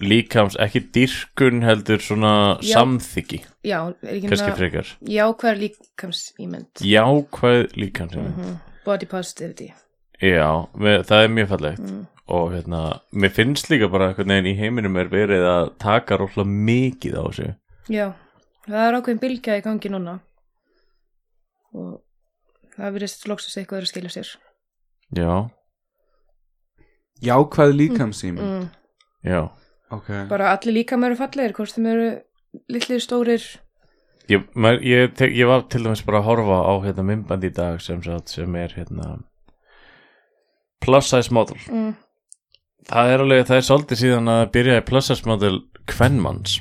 [SPEAKER 3] líkams ekki dýrkun heldur svona
[SPEAKER 5] Já.
[SPEAKER 3] samþyggi,
[SPEAKER 5] já, er ekki
[SPEAKER 3] kannski
[SPEAKER 5] hérna
[SPEAKER 3] frekar
[SPEAKER 5] Já, hvað er líkamsýmynd?
[SPEAKER 3] jákvæð líkams
[SPEAKER 5] Mhm.
[SPEAKER 3] mm
[SPEAKER 5] Body positivity
[SPEAKER 3] já, við, það er mjög fallegt og hérna, mér finnst líka bara einhvern veginn í heiminum er verið að taka róla mikið á þessu
[SPEAKER 5] Já, það er ákveðin bylgja í gangi núna og það virðist loksast eitthvað er að skilja sér
[SPEAKER 3] já,
[SPEAKER 2] jákvæð líkamsýmin
[SPEAKER 5] mm.
[SPEAKER 3] já
[SPEAKER 2] Ok,
[SPEAKER 5] Bara allir líka eru fallegir, hvort þeim eru litlir, stórir
[SPEAKER 3] Ég, maður, ég, tek, ég var til dæmis bara að horfa á hérna mymband í dag sem, sagt, sem er hérna plus size model
[SPEAKER 5] mm.
[SPEAKER 3] það er alveg, það er svolítið síðan að byrja í plus size model kvenmanns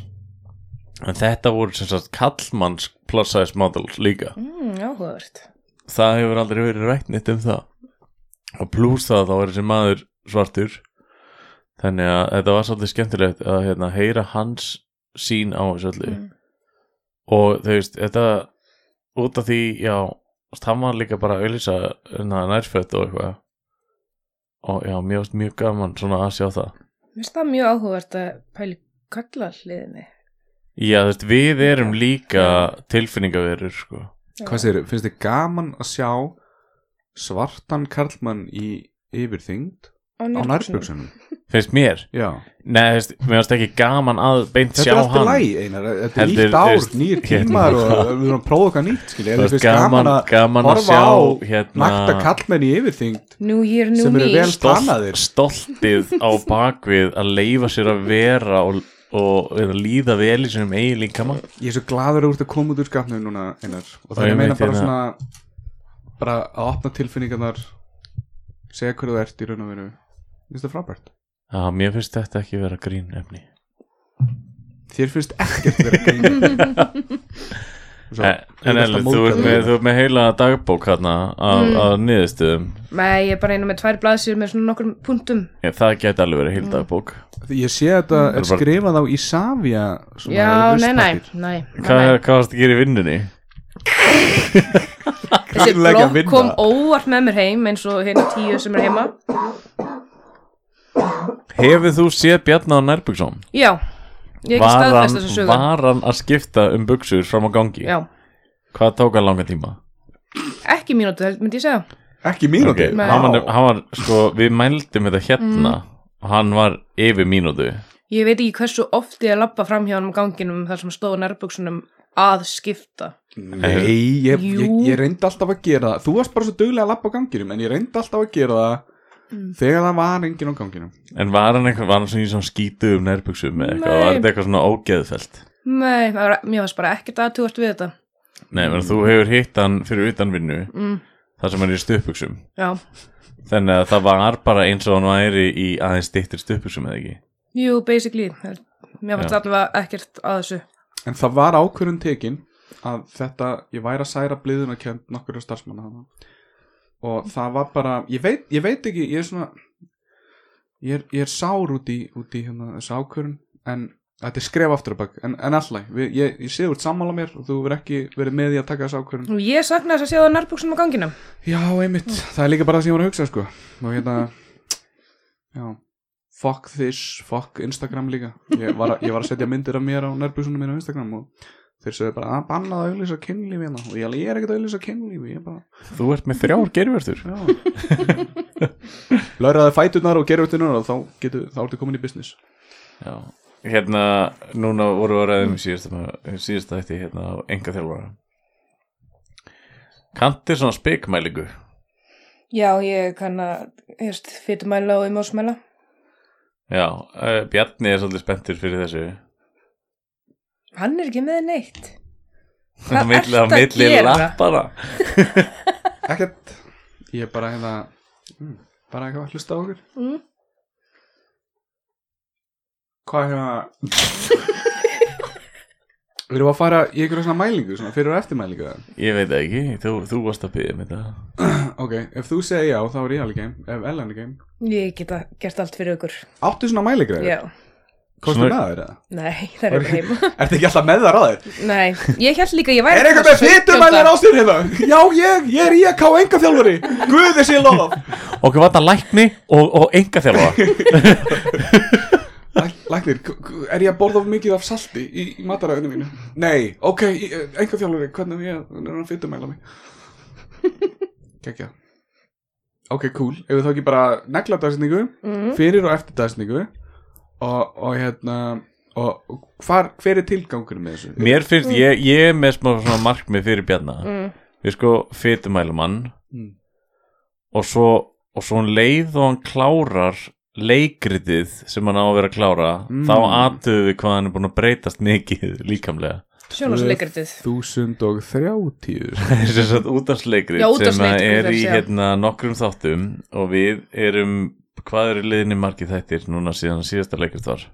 [SPEAKER 3] en þetta voru sem sagt kallmanns plus size model líka
[SPEAKER 5] Mm, áhugavert
[SPEAKER 3] það hefur aldrei verið rætt nýtt um það og pluss það þá er þessi maður svartur þannig að þetta var svolítið skemmtilegt að hérna, heyra hans sín á þessu öllu
[SPEAKER 5] Mm.
[SPEAKER 3] og þú veist, þetta út af því, já þú veist, hann var líka bara að auðlýsa hérna, nærfött og eitthvað og já, mjög, mjög gaman svona að sjá það
[SPEAKER 5] Mér finnst það mjög áhugavert að pæli kalla hliðinni
[SPEAKER 3] Já, þú veist, við erum líka tilfinningaverur, sko
[SPEAKER 2] Hvað segir, finnst þið gaman að sjá svartan karlmann í yfirþyngd á nærbjöksunum?
[SPEAKER 3] Finnst mér?
[SPEAKER 2] Já,
[SPEAKER 3] Nei, þú veist, mér finnst ekki gaman að beint
[SPEAKER 2] þetta
[SPEAKER 3] sjá
[SPEAKER 2] er allt í
[SPEAKER 3] hann
[SPEAKER 2] læg einar, þetta er
[SPEAKER 3] Heldur,
[SPEAKER 2] nýtt
[SPEAKER 3] þú
[SPEAKER 2] ár,
[SPEAKER 3] veist,
[SPEAKER 2] nýjir
[SPEAKER 3] hérna-
[SPEAKER 2] tímar og við erum að prófa okkar nýtt, skilja,
[SPEAKER 3] Þú
[SPEAKER 2] þetta
[SPEAKER 3] veist,
[SPEAKER 2] finnst gaman að
[SPEAKER 3] gaman að
[SPEAKER 2] horfa
[SPEAKER 3] sjá
[SPEAKER 2] á
[SPEAKER 3] hérna
[SPEAKER 2] nakta karlmenn í yfirþyngd
[SPEAKER 5] New year, new
[SPEAKER 2] sem eru
[SPEAKER 5] me
[SPEAKER 2] vel stanaðir.
[SPEAKER 3] stoltið á bakvið að leifa sér að vera og, og eða líða vel í sinum eigin líkama
[SPEAKER 2] Ég er svo gladur að úr að koma út úr skapnum núna einar og það
[SPEAKER 3] Og
[SPEAKER 2] er
[SPEAKER 3] ég
[SPEAKER 2] að meina
[SPEAKER 3] veit
[SPEAKER 2] bara
[SPEAKER 3] hérna-
[SPEAKER 2] svona, bara að opna tilfinningarnar, segja hverju þú ert í raun og veru, finnst það frábært?
[SPEAKER 3] Já, mér finnst þetta ekki vera grín efni
[SPEAKER 2] Þér finnst ekkert vera grín Svo,
[SPEAKER 3] En, Eh, en
[SPEAKER 2] auðvitað
[SPEAKER 3] Elli, þú ert
[SPEAKER 2] móðgað
[SPEAKER 3] með,
[SPEAKER 2] þig.
[SPEAKER 3] þú ert með heila dagbók hérna af,
[SPEAKER 5] Mm.
[SPEAKER 3] af niðurstöðum
[SPEAKER 5] Nei, ég er bara einu með tvær blaðsýr með svona nokkur punktum
[SPEAKER 3] Já, það geti alveg verið
[SPEAKER 5] Mm.
[SPEAKER 3] heil dagbók
[SPEAKER 2] Ég sé að þetta
[SPEAKER 3] Það er
[SPEAKER 2] er
[SPEAKER 3] bara-
[SPEAKER 2] skrifað á Isavia svona
[SPEAKER 5] Já, nei,
[SPEAKER 2] listpappír.
[SPEAKER 5] nei, nei,
[SPEAKER 3] Hvað,
[SPEAKER 5] nei, nei.
[SPEAKER 3] hvað varst að gera í vinnunni?
[SPEAKER 5] Þessi
[SPEAKER 2] Greinlega
[SPEAKER 5] blokk
[SPEAKER 2] vinna.
[SPEAKER 5] kom óvart með mér heim eins og hérna tíu sem er heima
[SPEAKER 3] Hefur þú séð Bjarna á Nærbyggsson?
[SPEAKER 5] Já, ég ekki
[SPEAKER 3] Var hann-
[SPEAKER 5] staðfest þessa sögu
[SPEAKER 3] Var hann að skipta um buksur fram á gangi?
[SPEAKER 5] Já,
[SPEAKER 3] Hvað tók hann langa tíma?
[SPEAKER 5] ekki mínútu, held- myndi ég segja
[SPEAKER 2] Ekki mínúti
[SPEAKER 3] Ok, hann, var, hann var, sko, við mældum þetta hérna og hann var yfir mínútu
[SPEAKER 5] Ég veit ekki hversu oft ég lappa fram hjá hann um ganginum þar sem stóðu nærbuksunum að skipta
[SPEAKER 2] Nei, ég, ég,
[SPEAKER 5] Jú.
[SPEAKER 2] ég reyndi alltaf að gera það Þú varst bara svo duglega að lappa á ganginum En ég reyndi alltaf að gera það Þegar það var enginn á ganginum
[SPEAKER 3] En var hann eitthvað, var hann svona í svona skítu um nærbuksum eða eitthvað,
[SPEAKER 5] Nei.
[SPEAKER 3] var þetta eitthvað svona ógeðfelt
[SPEAKER 5] Nei, það var, mér varst bara ekkert aðtugast við þetta
[SPEAKER 3] Nei, menn þú hefur hitt hann fyrir utan vinnu
[SPEAKER 5] Mm.
[SPEAKER 3] þar sem hann er í stupuksum
[SPEAKER 5] Já,
[SPEAKER 3] Þannig að það var bara eins og hann væri í aðeins dittir stupuksum eða ekki
[SPEAKER 5] jú, basically það- Mér varst
[SPEAKER 3] Já.
[SPEAKER 5] allavega ekkert að þessu
[SPEAKER 2] En það var ákvörðun tekin Að þetta, ég væri að særa bliðun að kjönd Nokkur starfsmanna þarna. Og það var bara, ég veit, ég veit ekki Ég er svona Ég er, ég er sár út í, út í hérna, þessu ákvörðun En þetta er skref aftur á bak En, en alltaf, ég, ég, ég sé út sammála mér Og þú verð ekki verið með í að taka þessu ákvörðun
[SPEAKER 5] Og ég sakna þess að séða nærbuksunum á ganginum
[SPEAKER 2] Já, einmitt, það er líka bara það sem ég var að hugsa sko og hérna já, fuck this, fuck Instagram líka, ég var að, ég var að setja myndir af mér á nærbjúsunum mínu á Instagram og þeir sögðu bara, að bannað að auðlýsa kynlífi hérna og ég, alveg, ég er ekkert að auðlýsa kynlífi ég bara,
[SPEAKER 3] Þú ert með þrjár gerfjörður
[SPEAKER 2] já Lörðaði fæturnar og gerðutunar og þá getur, þá ertu komin í business
[SPEAKER 3] Já, hérna, núna voru við að ræðum í síðasta, síðasta þetta hérna á enga þjálfara Kantir svona spikmælingu
[SPEAKER 5] Já, ég kann að, hérst, fytumæla og umásmæla
[SPEAKER 3] Já, uh, Bjarni er svolítið spenntur fyrir þessu
[SPEAKER 5] Hann er ekki með neitt
[SPEAKER 3] Á
[SPEAKER 5] Hvað
[SPEAKER 3] milli-
[SPEAKER 5] ertu
[SPEAKER 3] á
[SPEAKER 5] að
[SPEAKER 3] milli
[SPEAKER 5] gera?
[SPEAKER 3] lappana
[SPEAKER 2] ekkert, ég er bara hérna mm, bara eitthvað að hlusta á okkur
[SPEAKER 5] Mm.
[SPEAKER 2] hvað hérna Við erum að fara í einhverja svona mælingu, svona fyrir og eftir mælingu það
[SPEAKER 3] Ég veit það ekki, þú, þú varst að byggja með þetta
[SPEAKER 2] Ok, ef þú segir já, þá er ég alveg game Ef Ellen er game
[SPEAKER 5] Ég geta gert allt fyrir ykkur
[SPEAKER 2] Áttu svona mæligræður?
[SPEAKER 5] Já,
[SPEAKER 2] Kostu
[SPEAKER 3] Svona-
[SPEAKER 2] með þér eða?
[SPEAKER 5] nei, það er ekki heima
[SPEAKER 2] Ertu ekki alltaf með þar á þér?
[SPEAKER 5] Nei, ég held líka að ég væri um
[SPEAKER 2] Er eitthvað með
[SPEAKER 5] svona
[SPEAKER 2] fytumælar á
[SPEAKER 5] 17.
[SPEAKER 2] sér hérna? Já, ég, ég er í að ká enga þjálfari Guði sé lof
[SPEAKER 3] Okkur var það lækni og, og enga þjálfa
[SPEAKER 2] Læk- Læknir, k- k- er ég að borða of mikið af salti í, í mataræðinu mínu? Nei, ok, enga þjálfari, hvernig er ég er að fytumæla mig? Kekja Ok, cool, ef við þá ekki bara negla dagsetningu
[SPEAKER 5] Mhm.
[SPEAKER 2] fyrir og eftir dagsetningu og, og hérna og og hvar, hver er tilgangurinn með þessu?
[SPEAKER 3] Mér finnst, ég, ég er með smá svona markmið fyrir Bjarna
[SPEAKER 5] Mm.
[SPEAKER 3] Við sko fytumælum hann
[SPEAKER 2] Mm.
[SPEAKER 3] og svo, og svo hann leið og hann klárar leikritið sem hann á að vera að klára
[SPEAKER 2] Mm.
[SPEAKER 3] þá aðtöðu við hvað hann er búin að breytast mikið líkamlega
[SPEAKER 5] Sjónvarsleikritið
[SPEAKER 2] 1030
[SPEAKER 3] Það er sem sagt útarsleikrit
[SPEAKER 5] Já,
[SPEAKER 3] sem að
[SPEAKER 5] útvarpsleikrit,
[SPEAKER 3] er
[SPEAKER 5] það
[SPEAKER 3] í
[SPEAKER 5] sé.
[SPEAKER 3] hérna nokkrum þáttum og við erum, hvað eru liðinni margir þættir núna síðan síðasta leikrit var?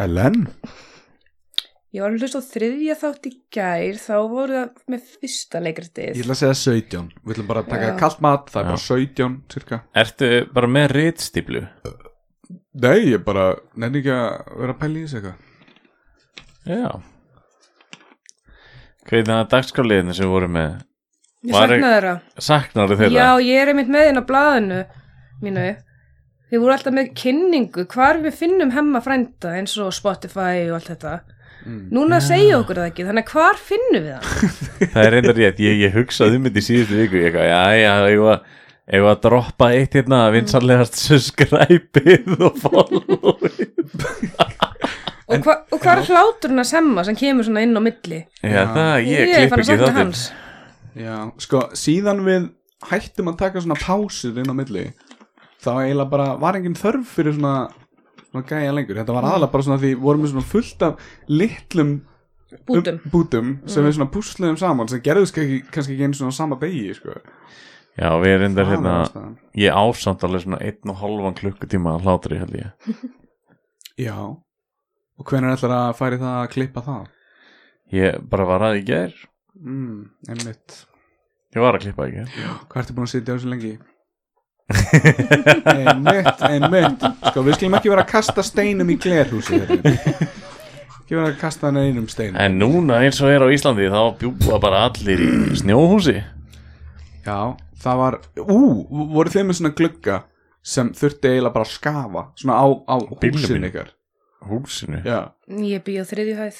[SPEAKER 2] Ellen?
[SPEAKER 5] Ég var að hlusta á þriðja þátt í gær þá voru það með fyrsta leikritið
[SPEAKER 2] Ég ætla að segja 17 Við ætlum bara að taka
[SPEAKER 5] Já.
[SPEAKER 2] kallt mat, það er
[SPEAKER 3] Já.
[SPEAKER 2] bara 17 cirka.
[SPEAKER 3] Ertu bara með ritstíplu?
[SPEAKER 2] Nei, ég bara nenni ekki að vera að pæla í þessu eitthvað
[SPEAKER 3] Já Hvað er það dagskáliðinni sem voru með?
[SPEAKER 5] Ég
[SPEAKER 3] Var-
[SPEAKER 5] saknaði þeirra
[SPEAKER 3] Saknarðu þeirra?
[SPEAKER 5] Já, ég er einmitt með hérna á blaðinu mínu Þið voru alltaf með kynningu hvar við finnum hemma frænda eins og Spotify og allt þetta
[SPEAKER 3] Mm.
[SPEAKER 5] Núna segja okkur það ekki, þannig að hvar finnum við það?
[SPEAKER 3] Það er reyndar rétt, ég, ég hugsaði um þetta í síðustu viku Ég eitthvað, já, já, ég var Ég var að droppa eitt hérna vinsanlegast subscribe-ið og follow-ið
[SPEAKER 5] Og, hva, og hvað er hláturinn að semma sem kemur svona inn á milli?
[SPEAKER 3] Já, það, ég
[SPEAKER 5] er
[SPEAKER 3] klipp
[SPEAKER 5] bara að
[SPEAKER 3] ekki
[SPEAKER 5] sakna
[SPEAKER 3] þáttinn
[SPEAKER 5] hans.
[SPEAKER 2] Já, sko, síðan við hættum að taka svona pásur inn á milli þá eiginlega bara var engin þörf fyrir svona, svona gæja lengur þetta var aðalega bara svona því vorum við svona fullt af litlum
[SPEAKER 5] Bútum.
[SPEAKER 2] um, bútum sem við svona púsluðum saman sem gerðust kannski, kannski ekki einu svona á sama begi sko.
[SPEAKER 3] Já, við erum reyndar
[SPEAKER 2] Það var
[SPEAKER 3] hérna
[SPEAKER 2] ástæðan.
[SPEAKER 3] Ég ásamt alveg svona einn og hálfan klukkutíma að hlátri held ég
[SPEAKER 2] Já og hvenær ætlar að færi það að klippa það?
[SPEAKER 3] Ég bara var að í gær
[SPEAKER 2] Mm, einmitt
[SPEAKER 3] Ég var að klippa í gær
[SPEAKER 2] Hvað ertu búin að sitja á þessu lengi? einmitt, einmitt Sko, við skulum ekki vera að kasta steinum í glerhúsi hérna. Ekki vera að kasta neinum steinum
[SPEAKER 3] En núna eins og er á Íslandi þá bjúa bara allir í snjóhúsi
[SPEAKER 2] Já, það var Ú, voru þeim með svona glugga sem þurfti eiginlega bara að skafa svona á, á
[SPEAKER 3] Bílnum
[SPEAKER 2] húsin
[SPEAKER 3] mínum.
[SPEAKER 2] ykkar
[SPEAKER 3] Húsinu Já,
[SPEAKER 2] Já,
[SPEAKER 5] Ég býð á þriðju hæð.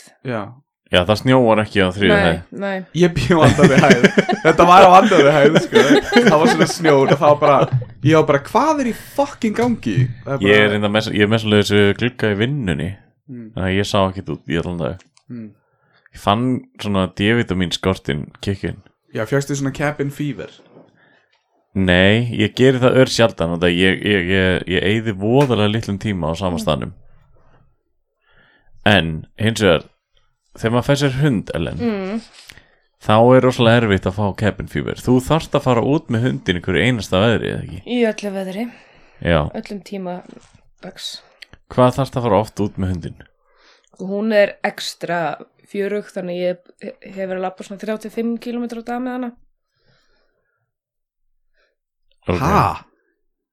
[SPEAKER 2] já
[SPEAKER 3] það snjóar ekki á þriðu
[SPEAKER 5] Nei,
[SPEAKER 3] hæð
[SPEAKER 5] nei.
[SPEAKER 2] Ég bjó andari hæð Þetta var á andari hæð, sko Það var svona snjór og það var bara Ég var bara, hvað er í fucking gangi? Það
[SPEAKER 3] Ég er reynda með, ég er með svolítið þessu glugga í vinnunni
[SPEAKER 2] Mm.
[SPEAKER 3] Þannig að ég sá ekkert út í allan dag
[SPEAKER 2] Mm.
[SPEAKER 3] Ég fann svona D-vitamin skortin kikkin
[SPEAKER 2] Já, fjöxtu svona cabin fever
[SPEAKER 3] Nei, ég geri það ör sjaldan og það ég, ég, ég, ég eyði voðalega litlum tíma á
[SPEAKER 2] Mm.
[SPEAKER 3] samastanum En hins vegar Þegar maður fær sér hund, Ellen
[SPEAKER 5] Mm.
[SPEAKER 3] Þá er rosalega erfitt að fá cabin fever Þú þarft að fara út með hundin ykkur einasta veðri eða ekki
[SPEAKER 5] Í öllu veðri,
[SPEAKER 3] Já,
[SPEAKER 5] öllum tíma dags.
[SPEAKER 3] hvað þarft að fara oft út með hundin?
[SPEAKER 5] Og hún er ekstra fjörug, þannig ég hef verið að labba svona 35 km á dag með hana.
[SPEAKER 3] Ok.
[SPEAKER 2] Ha?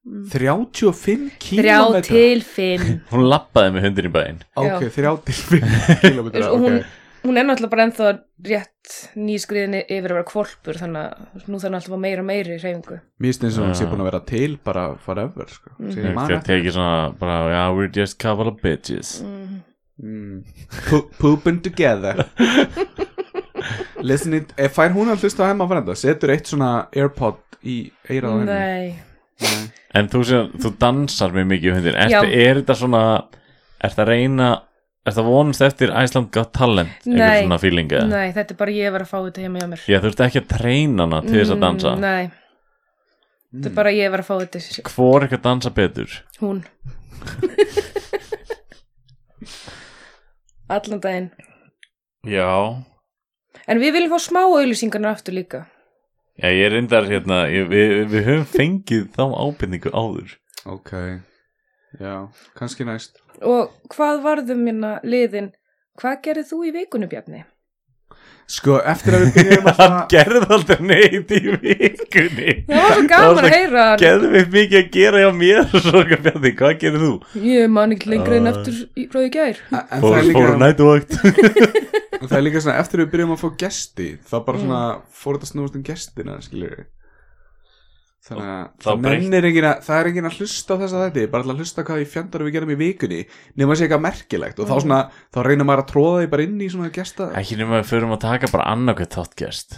[SPEAKER 5] Mm.
[SPEAKER 2] 35
[SPEAKER 5] Þrjá
[SPEAKER 2] kílómetra?
[SPEAKER 5] til fimm.
[SPEAKER 3] Hún lappaði með hundin í bæinn
[SPEAKER 2] Ok, 35 kílómetra
[SPEAKER 5] og hún,
[SPEAKER 2] ok.
[SPEAKER 5] hún er náttúrulega bara ennþá rétt nýskriðinni yfir að vera kvolpur þannig að nú þarf náttúrulega meira og meira í reyfingu.
[SPEAKER 2] Mér finnst eins og hún
[SPEAKER 3] Já.
[SPEAKER 2] sé búin að vera til bara forever sko. mm.
[SPEAKER 3] Ég
[SPEAKER 2] man
[SPEAKER 3] hef
[SPEAKER 2] eftir
[SPEAKER 3] tekið svona bara, já, we're just a couple of bitches
[SPEAKER 2] mm. Po- Pooping together Listen it eh, Fær hún að hlusta á hemma frenda Setur eitt svona Airpod í eirað á henni
[SPEAKER 5] Mm, Nei,
[SPEAKER 2] Nei.
[SPEAKER 3] En þú, sér, þú dansar mjög mikið um hundin Ertu,
[SPEAKER 5] Já.
[SPEAKER 3] Er þetta svona Er þetta reyna Er þetta vonast eftir Iceland Got Talent Eitthvað
[SPEAKER 5] Nei.
[SPEAKER 3] svona feelinga
[SPEAKER 5] nei, þetta er bara ég að vera að fá þetta heima hjá mér.
[SPEAKER 3] Já, þú ert ekki að treyna hana til þess að dansa
[SPEAKER 5] Mm, nei, þetta
[SPEAKER 2] Mm.
[SPEAKER 5] er bara ég að vera að fá þetta,
[SPEAKER 3] Hvor ekki að dansa betur
[SPEAKER 5] hún. Allan daginn.
[SPEAKER 3] Já
[SPEAKER 5] En við viljum fá smá auðlýsingarnar aftur líka.
[SPEAKER 3] Já, ég reyndar hérna ég, við, við höfum fengið þá ábyrningu áður
[SPEAKER 2] Ok Já, kannski næst
[SPEAKER 5] Og hvað varðum minna liðin? Hvað gerðið þú í vikunum, Bjarni?
[SPEAKER 2] Sko, eftir að við byrjum að
[SPEAKER 3] Hann gerði aldrei neitt í vikunni
[SPEAKER 5] Það var svo
[SPEAKER 3] Það var
[SPEAKER 5] gaman
[SPEAKER 3] svo
[SPEAKER 5] að heyra hann.
[SPEAKER 3] Gerði mig mikið að gera hjá mér Svo ekki að bjarni, hvað gerir þú?
[SPEAKER 5] Ég man ekki lengra en aftur í- frá í gær.
[SPEAKER 2] En það
[SPEAKER 3] Fór,
[SPEAKER 2] er
[SPEAKER 3] fór
[SPEAKER 2] líka
[SPEAKER 3] á nætuvakt
[SPEAKER 2] En það er líka svona, eftir við byrjum að fá gesti þá bara svona, fór þetta að snúast um gestina skiljur við þannig að
[SPEAKER 3] þá
[SPEAKER 2] það,
[SPEAKER 3] breytt-
[SPEAKER 2] nennir enginn að, það er enginn að hlusta á þess að þetta bara til að hlusta hvað í fjandar við gerum í vikunni nema að sé eitthvað merkilegt og þá svona þá reynir maður að tróða því bara inn í svona gesta
[SPEAKER 3] Ekki nema við förum að taka bara annarkvæmt þáttgest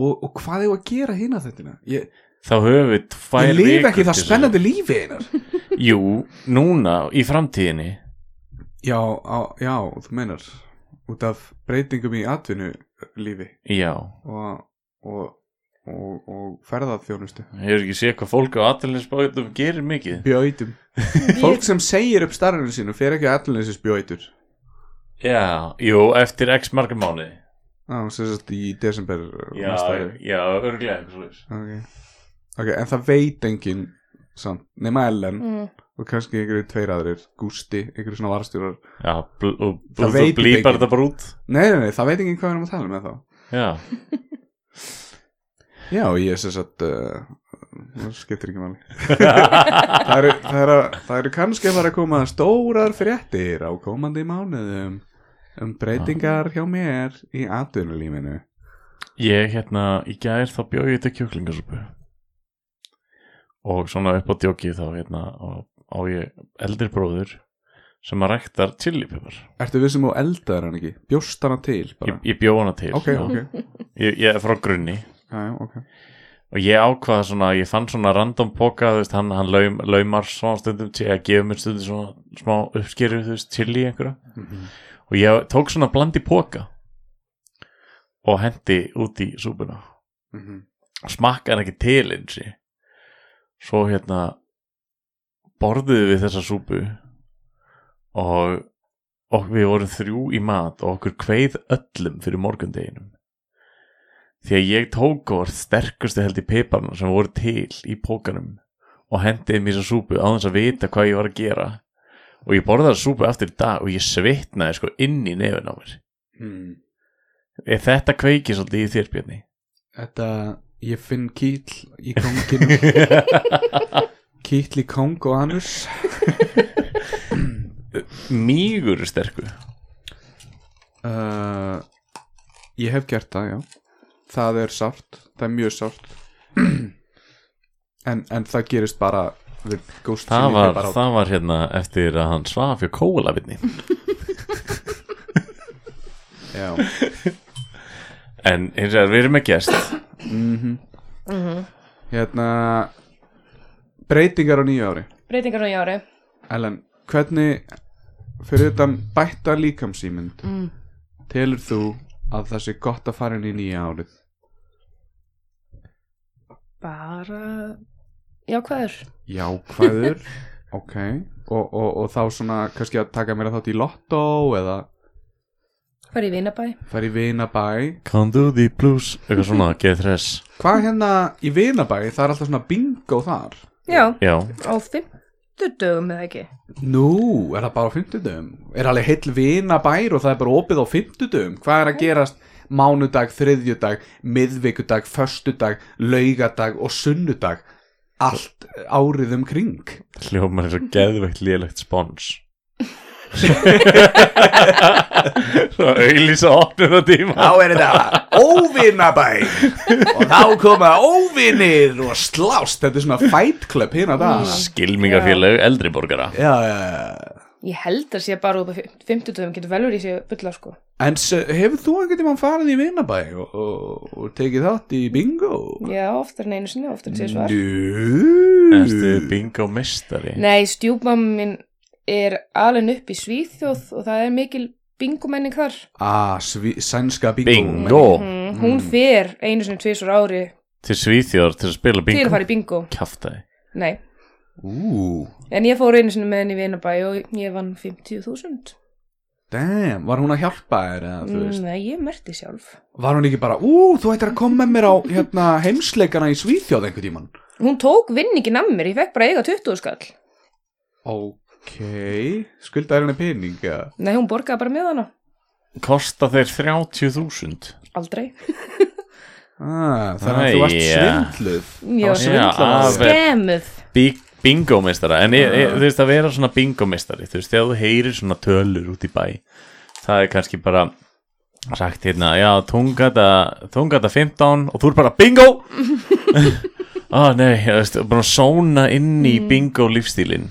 [SPEAKER 2] og, og hvað hefur að gera hina þetta ég,
[SPEAKER 3] Þá höfum við tvær
[SPEAKER 2] ég lif
[SPEAKER 3] vikur
[SPEAKER 2] ekki
[SPEAKER 3] til
[SPEAKER 2] það spennandi lífi einar
[SPEAKER 3] þess. Jú, núna í framtíðinni
[SPEAKER 2] já, á, já, þú meinar út af breytingum í atvinnu lífi
[SPEAKER 3] Já,
[SPEAKER 2] og, og, og, og ferðarþjónustu
[SPEAKER 3] hefur ekki séð hvað fólk á aðtalinsbáðum gerir mikið
[SPEAKER 2] bjöitum Fólk sem segir upp starfinu sínu fer ekki að allinleysins bjóitur
[SPEAKER 3] Já, jú, eftir x marga mánuði
[SPEAKER 2] á, sem sagt í desember uh,
[SPEAKER 3] Já,
[SPEAKER 2] næsta ári.
[SPEAKER 3] já, örglega eitthvað svoleiðis.
[SPEAKER 2] okay. ok, en það veit enginn samt, nema Ellen
[SPEAKER 5] Mm.
[SPEAKER 2] og kannski einhverju tveir aðrir, Gústi einhverju svona varstjórar,
[SPEAKER 3] Já, bl og
[SPEAKER 2] Það
[SPEAKER 3] þú
[SPEAKER 2] veit ég
[SPEAKER 3] blýpar
[SPEAKER 2] ekki.
[SPEAKER 3] þetta bara út
[SPEAKER 2] nei, nei, nei, það veit enginn hvað við erum að tala um með þá
[SPEAKER 3] Já,
[SPEAKER 2] já, ég sem sagt uh, það skiptir ekki máli það, eru, það, eru, það eru kannski að fara að koma stórar fréttir á komandi mánuðum um breytingar hjá mér í atvinnulífinu
[SPEAKER 3] ég hérna í gær þá bjóð ég þetta kjúklingasúpu og svona upp á djókið þá hérna á, á ég eldri bróður sem að ræktar chilipipar
[SPEAKER 2] Ertu við sem á eldaðar hann ekki? Bjóst hana til bara?
[SPEAKER 3] ég, ég bjó hana til
[SPEAKER 2] ok,
[SPEAKER 3] já.
[SPEAKER 2] ok,
[SPEAKER 3] Ég, ég er frá grunni
[SPEAKER 2] já, já, ok
[SPEAKER 3] og ég ákvaða svona, ég fann svona random poka, þú veist, hann, hann laum, laumar svona stundum til að gefa mér stundum svona smá uppskeru, þú veist, til í einhverja og ég tók svona blandi poka og hendi út í súpuna
[SPEAKER 2] Mhm.
[SPEAKER 3] smakkaði hann ekki til eins og svo hérna borðuðu við þessa súpu og, og við vorum þrjú í mat og okkur kveið öllum fyrir morgundeginum því að ég tók og var sterkustu held í piparna sem voru til í pókanum og hendiði mér þessa súpu á þess að vita hvað ég var að gera og ég borðaði þessa súpu aftur í dag og ég svitnaði sko inn í nefun á mér
[SPEAKER 2] hmm.
[SPEAKER 3] er þetta kveikið svolítið í þér Björni?
[SPEAKER 2] Þetta, ég finn kýtl í konginu Kýtl í kong og anus
[SPEAKER 3] Mígur sterku
[SPEAKER 2] uh, Ég hef gert það, já Það er sárt, það er mjög sárt en, en það gerist bara við ghost
[SPEAKER 3] það
[SPEAKER 2] feeling
[SPEAKER 3] var,
[SPEAKER 2] bara á-
[SPEAKER 3] það var hérna eftir að hann svaf hjá kólavinni
[SPEAKER 2] Já,
[SPEAKER 3] en hins vegar við erum með gest
[SPEAKER 2] hérna Breytingar á nýju ári
[SPEAKER 5] Breytingar á nýju ári
[SPEAKER 2] Ellen, hvernig fyrir utan bætta líkamsýmynd
[SPEAKER 5] Mm.
[SPEAKER 2] telur þú að það sé gott að fara inn í nýja árið
[SPEAKER 5] Bara jákvæður
[SPEAKER 2] jákvæður ok, og, og, og þá svona kannski að taka meira þátt í lottó eða
[SPEAKER 5] Fær í Vinabæ
[SPEAKER 2] fara í vinabæ
[SPEAKER 3] Can't do the blues eitthvað svona, get þess
[SPEAKER 2] hvað hérna í vinabæ, það er alltaf svona bingo þar
[SPEAKER 5] Já,
[SPEAKER 3] já,
[SPEAKER 5] á fimmtu dögum eða ekki
[SPEAKER 2] nú, er það bara á fimmtudum er alveg heill vinabær og það er bara opið á fimmtudum, hvað er að gerast mánudag, þriðjudag, miðvikudag föstudag, laugadag og sunnudag allt árið um kring
[SPEAKER 3] hljómar eins og geðveikt lélegt spons svo auðlýsa opnum á tíma
[SPEAKER 1] Þá er þetta óvinnabæ og þá koma óvinnir og slást.
[SPEAKER 2] þetta er svona fight club hérna
[SPEAKER 3] Mm.
[SPEAKER 2] það
[SPEAKER 3] skilmingafélög eldri borgara
[SPEAKER 2] já, já, já
[SPEAKER 5] Ég held að sé bara út á fimmtu dögum getur velur í sé bulla sko
[SPEAKER 2] En s- hefur þú einhvern tímann farið í vinabæ og, og, og tekið þátt í bingo?
[SPEAKER 5] Já, oftar en einu sinni, oftar en sé svar
[SPEAKER 2] Nú
[SPEAKER 3] Ertu bingo mistari?
[SPEAKER 5] Nei, stjúpmamma minn er alveg upp í Svíþjóð og það er mikil bingomenning þar
[SPEAKER 2] Ah, svi, sænska bingo
[SPEAKER 3] Bingo
[SPEAKER 5] mm. Hún fer einu sinni tvisur ári
[SPEAKER 3] Til Svíþjóðar til að spila
[SPEAKER 5] til að
[SPEAKER 3] bingo
[SPEAKER 5] fara í bingo
[SPEAKER 3] Kjaftaði
[SPEAKER 5] Nei,
[SPEAKER 2] Ú,
[SPEAKER 5] en ég fór einu sinni með henni í Vinabæ og ég vann 50.000
[SPEAKER 2] damn, var hún að hjálpa þér eða þú
[SPEAKER 5] Mm,
[SPEAKER 2] veist
[SPEAKER 5] Nei, ég merti sjálf
[SPEAKER 2] Var hún ekki bara, ú, þú ættir að koma með mér á hérna, heimsleikana í Svíþjóð einhvern tímann
[SPEAKER 5] Hún tók vinningin af mér, ég fekk bara eiga 20 skall
[SPEAKER 2] Ok, skuldaði henni pening eða?
[SPEAKER 5] Nei, hún borgaði bara með hana
[SPEAKER 3] Kosta þeir 30.000
[SPEAKER 5] Aldrei
[SPEAKER 2] ah, Þannig að þú
[SPEAKER 3] Æ,
[SPEAKER 2] varst
[SPEAKER 3] já.
[SPEAKER 2] svindluð
[SPEAKER 5] Já,
[SPEAKER 2] Það var svindlað
[SPEAKER 3] af-
[SPEAKER 2] af þér.
[SPEAKER 5] Skemuð
[SPEAKER 3] Big bingo mistara En ég,
[SPEAKER 5] Ah.
[SPEAKER 3] ég, þú veist að vera svona bingo mistari Þú veist þegar þú heyrir svona tölur út í bæ Það er kannski bara Sagt hérna, já, tungata Tungata 15 og þú er bara bingo Á nei, þú veist Bara að sóna inn í
[SPEAKER 5] Mm.
[SPEAKER 3] bingo lífstílin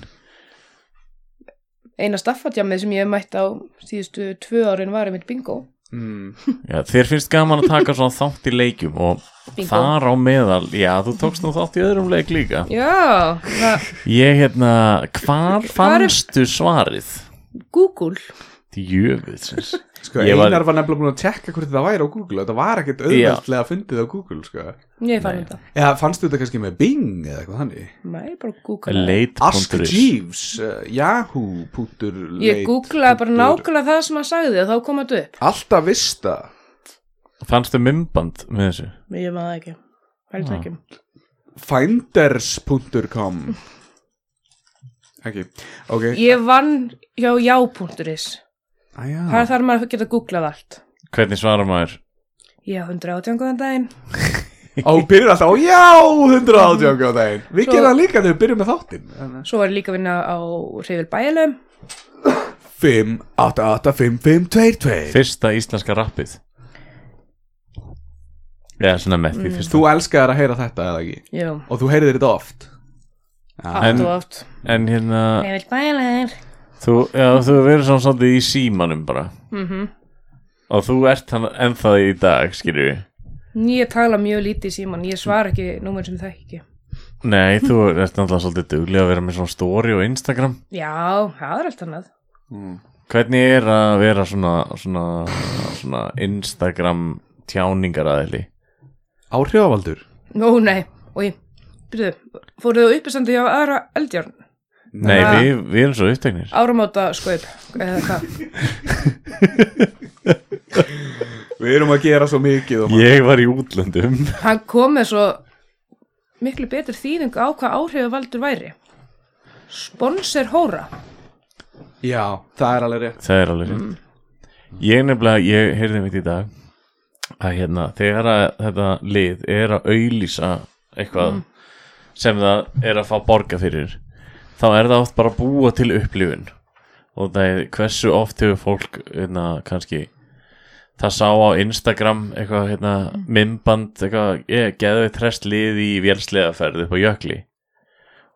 [SPEAKER 5] Eina staffatjammið sem ég hef mætt á síðustu tvö árin var um eitt bingo
[SPEAKER 2] mm,
[SPEAKER 3] Já, þér finnst gaman að taka svona þátt í leikjum og
[SPEAKER 5] Bingo.
[SPEAKER 3] þar á meðal, já, þú tókst nú þátt í öðrum leik líka.
[SPEAKER 5] Já, það,
[SPEAKER 3] Ég, hérna, hvar
[SPEAKER 5] Hvar er-
[SPEAKER 3] fannstu svarið?
[SPEAKER 5] Google
[SPEAKER 3] Jöfisins.
[SPEAKER 2] Sko,
[SPEAKER 3] Ég var-
[SPEAKER 2] Einar var nefnilega búin að tekka hvort það væri á Google Þetta var ekkert auðvöldlega fundið á Google sko.
[SPEAKER 5] Ég fann þetta
[SPEAKER 2] Eða fannstu þetta kannski með Bing eða eitthvað þannig
[SPEAKER 5] Nei, bara
[SPEAKER 2] Ask
[SPEAKER 5] Google
[SPEAKER 3] Leit.is
[SPEAKER 2] Jeeves, uh, Yahoo pútur,
[SPEAKER 5] Ég googlaði bara nákvæmlega það sem að sagði og þá kom þetta upp.
[SPEAKER 2] Alltaf vista
[SPEAKER 3] Fannstu mymband með þessu?
[SPEAKER 5] Ég maður það ekki. Heldur
[SPEAKER 3] Ah.
[SPEAKER 5] ekki.
[SPEAKER 2] Finders.com Ekki, ok
[SPEAKER 5] Ég vann hjá já.is.
[SPEAKER 2] Æja,
[SPEAKER 5] Það er þar maður geta googlað allt.
[SPEAKER 3] Hvernig svarar maður?
[SPEAKER 5] Já, 118 góðan daginn.
[SPEAKER 2] og hún byrjar alltaf á já, 180 á daginn Við
[SPEAKER 5] Mm. Svo-
[SPEAKER 2] gerum það líka þegar við byrjum með þáttinn
[SPEAKER 5] Svo var ég líka að vinna á Hreyfil Bæjalum.
[SPEAKER 2] 5, 8, 8, 5, 5, 2, 2
[SPEAKER 3] Fyrsta íslenska rappið. Já, svona með því fyrsta.
[SPEAKER 2] Þú elskar að heyra þetta eða ekki
[SPEAKER 5] Já,
[SPEAKER 2] Og þú heyrðir þetta oft
[SPEAKER 5] allt
[SPEAKER 3] en-
[SPEAKER 5] og allt.
[SPEAKER 3] En hérna,
[SPEAKER 5] Hreyfil Bæjalum.
[SPEAKER 3] Þú, já, þú hefur verið svona svolítið í símanum bara
[SPEAKER 5] mm
[SPEAKER 3] og þú ert hann ennþá í dag, skilur við
[SPEAKER 5] Ég tala mjög lítið í síman, ég svara ekki númer sem ég þekki ekki.
[SPEAKER 3] Nei, þú ert náttúrulega svolítið duglega að vera með svona story og Instagram
[SPEAKER 5] Já, það er allt annað.
[SPEAKER 3] Hvernig er að vera svona, svona, svona Instagram tjáningaraðili?
[SPEAKER 2] Áhrifavaldur
[SPEAKER 5] Nú, nei, og ég, byrjuðu, fóruðu á uppistandi hjá aðra eldjárn,
[SPEAKER 3] Nei,
[SPEAKER 5] Nei.
[SPEAKER 3] við, við erum svo uppteknir
[SPEAKER 5] áramóta skoip, eða hvað?
[SPEAKER 2] Við erum að gera svo mikið og
[SPEAKER 3] Ég var í útlöndum
[SPEAKER 5] Hann kom með svo miklu betur þýðing á hvað áhrifavaldur væri. Sponsor hóra.
[SPEAKER 2] Já, það er alveg rétt
[SPEAKER 3] Það er alveg rétt Ég nefnilega, ég heyrði mitt í dag að hérna, þegar að þetta lið er að auðlýsa eitthvað sem það er að fá borga fyrir þá er það oft bara að búa til upplifun og það er hversu oft hefur fólk hérna, kannski það sá á Instagram eitthvað hérna, mymband eitthvað, ég geðu við trest lið í vélsleðaferð upp á jökli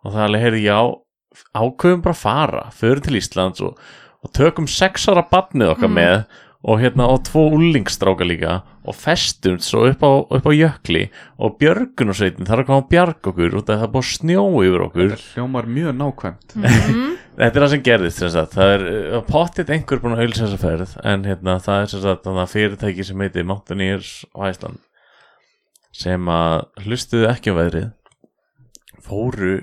[SPEAKER 3] og það er alveg, heyrði, já ákveðum bara að fara, förum til Íslands og og tökum sex ára barnið okkar með og hérna og tvo úlingstráka líka og festum svo upp á, upp á jökli og björgunarsveitin þarf að koma að bjarga okkur út af það er búið að snjó yfir okkur
[SPEAKER 2] Það hljómar mjög nákvæmt
[SPEAKER 3] þetta er það sem gerðist sem sagt. það er uh, pottitt einhver búin að auðvitað þessa ferð en hérna, það er sem sagt þarna fyrirtæki sem heitir Mountaineers á Æsland sem að hlustuðu ekki um veðrið fóru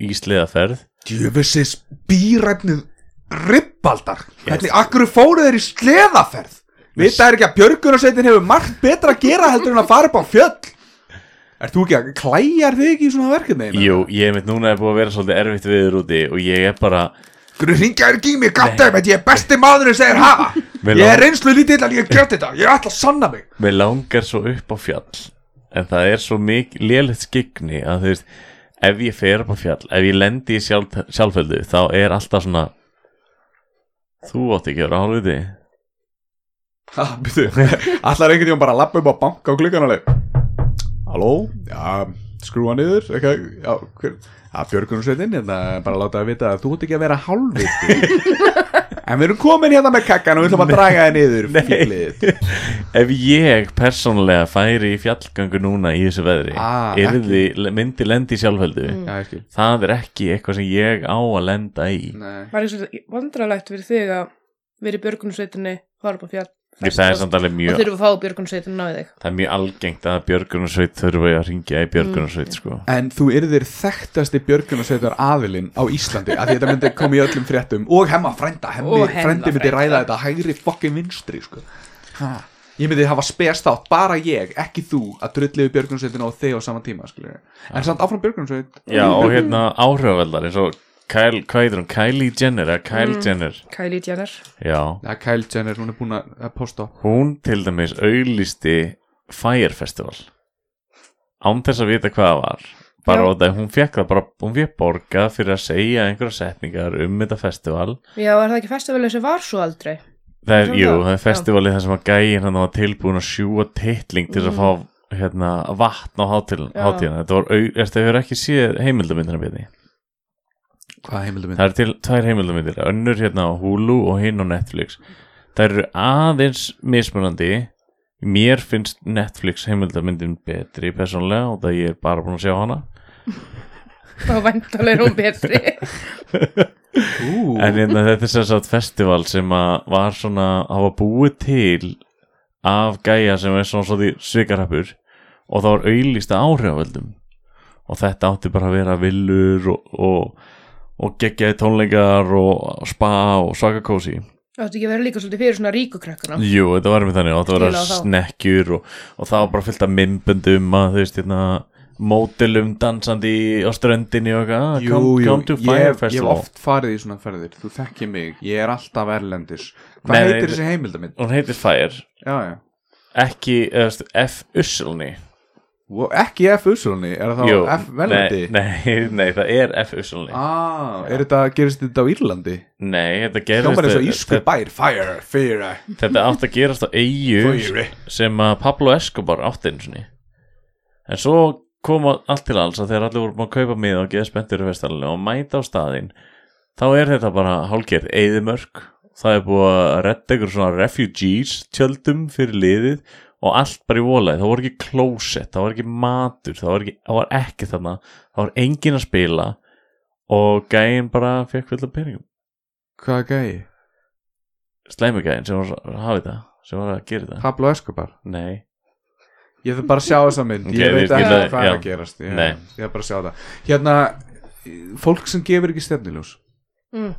[SPEAKER 3] í sleðaferð
[SPEAKER 1] Djöfusins býræfnið ribbaldar Hvernig, akkur fóru þeir í sleðaferð Vita er ekki að björgunarsveitin hefur margt betra að gera heldur en að fara upp á fjöll Ert þú ekki að klæjar þig ekki í svona hérna, verkefni?
[SPEAKER 3] Jú, ég mitt núna er búið að vera svolítið erfitt viður úti og ég er bara
[SPEAKER 1] Hvernig ringja þér ekki í mig, gattum Ég er besti maðurinn sem þeir hafa
[SPEAKER 3] Mér
[SPEAKER 1] Ég
[SPEAKER 3] lang-
[SPEAKER 1] er reynslu lítill en ég hef gert þetta Ég ætla að sanna mig
[SPEAKER 3] Mér langar svo upp á fjall En það er svo mikið lélegt skikni að þú veist, ef ég fer upp á fjall ef ég lendi í sjálf, sjálföldu þá er alltaf svona þú átt ekki að vera hálfviti
[SPEAKER 2] Allar einhvern tíma bara að lappa upp á banka og klukkan alveg Halló, já, skrúa niður eitthvað, já, hver Já, björgunarsveitin, hérna, bara láta að vita að þú ert ekki að vera hálfviti En við erum komin hérna með kakkan og við ætlum að draga þið niður fílið
[SPEAKER 3] Ef ég persónulega færi í fjallgöngu núna í þessu veðri
[SPEAKER 2] Ah, Mm.
[SPEAKER 3] yrði, myndi lendi í sjálföldu
[SPEAKER 2] Já, ég skil
[SPEAKER 3] það er ekki eitthvað sem ég á að lenda í
[SPEAKER 2] Nei.
[SPEAKER 5] Var ég svolítið vandralegt fyrir þig að vera í björgunsveitinni, fara upp á fjall,
[SPEAKER 3] Ég það er samt alveg
[SPEAKER 5] og
[SPEAKER 3] mjög,
[SPEAKER 5] þurfa að fá björgunsveitinna á þig.
[SPEAKER 3] það er mjög algengt að björgunarsveit þurfa að ringja í björgunarsveit sko.
[SPEAKER 2] En þú yrðir þekktasti björgunarsveitar aðilinn á Íslandi af því þetta myndi koma í öllum fréttum og hemma frænda, hemmi,
[SPEAKER 5] Og Hemma
[SPEAKER 2] frændi myndi
[SPEAKER 5] frænda.
[SPEAKER 2] ræða þetta hægri fokkin vinstri sko. Ha. ég myndi hafa spest átt bara ég, ekki þú að drulliðu björgunarsveitina og þig á sama tíma skilur. en samt áfram björgunarsveit
[SPEAKER 3] Já, og hérna áhrifavaldar eins og Kyle, hvað heitir hún? Kylie Jenner eða Kyle Jenner
[SPEAKER 5] Kylie Jenner.
[SPEAKER 3] Já,
[SPEAKER 2] ja, Kyle Jenner, hún er búin að að posta
[SPEAKER 3] hún til dæmis auðlisti Fire Festival án þess að vita hvað það var bara
[SPEAKER 5] Já.
[SPEAKER 3] á þetta, hún fekk það bara hún fekk borgað fyrir að segja einhverja setningar um þetta festival
[SPEAKER 5] Já, er það ekki festivalið sem var svo aldrei?
[SPEAKER 3] það er,
[SPEAKER 5] Svona
[SPEAKER 3] jú,
[SPEAKER 5] það,
[SPEAKER 3] það er
[SPEAKER 5] já.
[SPEAKER 3] festivalið þar sem að gæin hann var tilbúin að sjúa titling til þess að fá hérna, vatn á hátíðan
[SPEAKER 5] Mm. Já.
[SPEAKER 3] þetta var, au- þetta hefur ekki séð heimildamindina byrni
[SPEAKER 2] hvað heimildu mynd
[SPEAKER 3] Það eru til tvær heimildamindir önnur hérna á Hulu og hinn á Netflix Það eru aðeins mismunandi Mér finnst Netflix heimildamindin betri persónlega og það ég er bara búin að sjá hana
[SPEAKER 5] Þá væntalega er hún betri.
[SPEAKER 3] En hérna, þetta er sem sagt festival sem að var svona, hafa búið til af gæja sem er svona svona svikarhappur og það var auðlýsta áhrifavöldum og þetta átti bara að vera villur og, og, og geggjaði tónleikar og spa og svaka kósi
[SPEAKER 5] Það ætti ekki að vera líka svolítið fyrir svona ríkukrakkana.
[SPEAKER 3] Jú, þetta var með þannig og þetta var
[SPEAKER 5] Skilað þá.
[SPEAKER 3] snekkjur og, og það var bara fyllt af mymböndum að þú veist, hérna mótilum dansandi á ströndinni og eitthvað, "Ah,
[SPEAKER 2] Jú,
[SPEAKER 3] come,
[SPEAKER 2] jú,
[SPEAKER 3] come to
[SPEAKER 2] ég, hef-
[SPEAKER 3] Fire
[SPEAKER 2] ég hef
[SPEAKER 3] Festival
[SPEAKER 2] oft farið í svona ferðir Þú þekki mig, ég er alltaf erlendis Hvað
[SPEAKER 3] Nei,
[SPEAKER 2] heitir
[SPEAKER 3] nei,
[SPEAKER 2] þessi heimildamind?
[SPEAKER 3] hún heitir Fire,
[SPEAKER 2] Já, já
[SPEAKER 3] ekki eða, þú veist, F. Usselni
[SPEAKER 2] Wo- Ekki F. Ussulni, er það
[SPEAKER 3] Jú,
[SPEAKER 2] F. Velvendi?
[SPEAKER 3] nei, nei, nei, það er F. Usselni
[SPEAKER 2] Ah, er þetta, gerist þetta á Írlandi?
[SPEAKER 3] Nei, þetta gerist
[SPEAKER 2] Hljómar eins og ísku
[SPEAKER 3] þetta,
[SPEAKER 2] bær, fire, fire,
[SPEAKER 3] þetta átt að gerast á eigu
[SPEAKER 2] fire
[SPEAKER 3] sem að Pablo Escobar átti einu sinni en svo kom allt til alls að þegar allir voru búin að kaupa miða og geða spenntur í festalinu og mæta á staðinn þá er þetta bara hálgerð eðimörk það er búið að redda ykkur svona refugees tjöldum fyrir liðið og allt bara í volaði, það voru ekki klósett það voru ekki matur, það voru ekki, það var ekki þarna, það var engin að spila og gæin bara fekk fullt af peningum,
[SPEAKER 2] Hvað gæi?
[SPEAKER 3] slæmugæin sem var að hafa þetta, sem var að gera þetta
[SPEAKER 2] Pablo Escobar
[SPEAKER 3] nei,
[SPEAKER 2] Ég þarf bara að sjá þessa mynd
[SPEAKER 3] Ok,
[SPEAKER 2] Ég veit
[SPEAKER 3] við-
[SPEAKER 2] ekki
[SPEAKER 3] við-
[SPEAKER 2] hvað er að
[SPEAKER 3] já.
[SPEAKER 2] gerast Ég,
[SPEAKER 3] Nei.
[SPEAKER 2] ég þarf bara að sjá það Hérna, fólk sem gefur ekki stefniljós
[SPEAKER 5] Mm.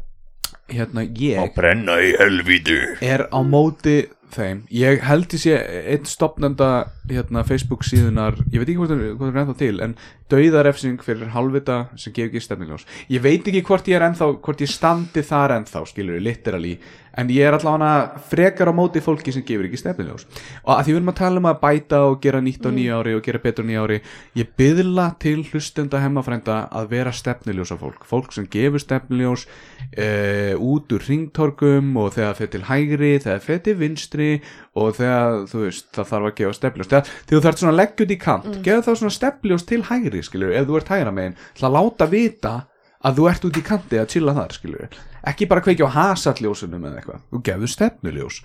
[SPEAKER 2] Hérna, ég
[SPEAKER 3] brenna í helvítu
[SPEAKER 2] er á móti þeim Ég held ég sé einn stopnenda hérna, Facebook síðunar Ég veit ekki hvort það hvort það er ennþá til En dauðarefsing fyrir halvvita sem gefur ekki stefniljós Ég veit ekki hvort ég er ennþá Hvort ég standi þar ennþá, skilur við, literally En ég er allavega frekar á móti fólki sem gefur ekki stefniljós og að því við erum að tala um að bæta og gera nýtt á nýja ári og gera betur á nýja ári ég byðla til hlustenda hemmafrænda að vera stefniljós af fólk fólk sem gefur stefniljós uh, út úr ringtorkum og þegar það fer til hægri, þegar það fer til vinstri og þegar þú veist það þarf að gefa stefniljós, þegar, þegar þú þarf svona leggjut í kant, mm. gefa þá svona stefniljós til hægri skilur, ef þú ert hægra megin til að láta vita að þú ert út í kanti að chilla þar skilur, ekki bara kveikja á hasalljósunum eða eitthvað, þú gefur stefniljós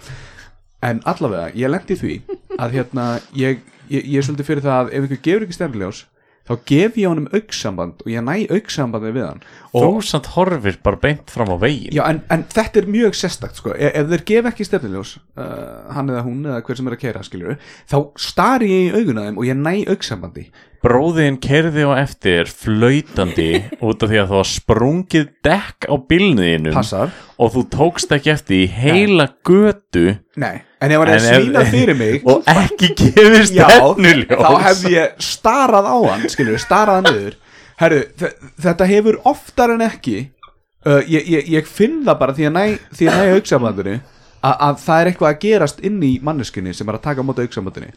[SPEAKER 2] En allavega, ég lendi því að hérna, ég, ég, ég er svolítið fyrir það að ef einhver gefur ekki stefniljós þá gef ég honum auksamband og ég næ auksambandi við hann og,
[SPEAKER 3] þú samt horfir bara beint fram á vegin
[SPEAKER 2] já, en, en þetta er mjög sérstakt sko. ef, ef þeir gef ekki stefniljós uh, hann eða hún eða hver sem er að keira skilur þá stari ég í auguna þeim og ég næ auksambandi
[SPEAKER 3] Bróðin kerði á eftir flöytandi út af því að það var sprungið dekk á bílniðinum
[SPEAKER 2] passar,
[SPEAKER 3] og þú tókst ekki eftir í heila götu
[SPEAKER 2] nei, en ef hann er að
[SPEAKER 3] En ef-
[SPEAKER 2] svína fyrir mig
[SPEAKER 3] og ekki gefur
[SPEAKER 2] Já,
[SPEAKER 3] stefnuljós
[SPEAKER 2] þá hef ég starað á hann skilur, starað hann yfir Herru, þe- þetta hefur oftar en ekki uh, ég, ég, ég finn það bara því að næ, því að næ auksambandinu að, að það er eitthvað að gerast inn í manneskunni sem er að taka á móti auksambandinu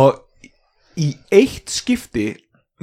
[SPEAKER 2] og í eitt skipti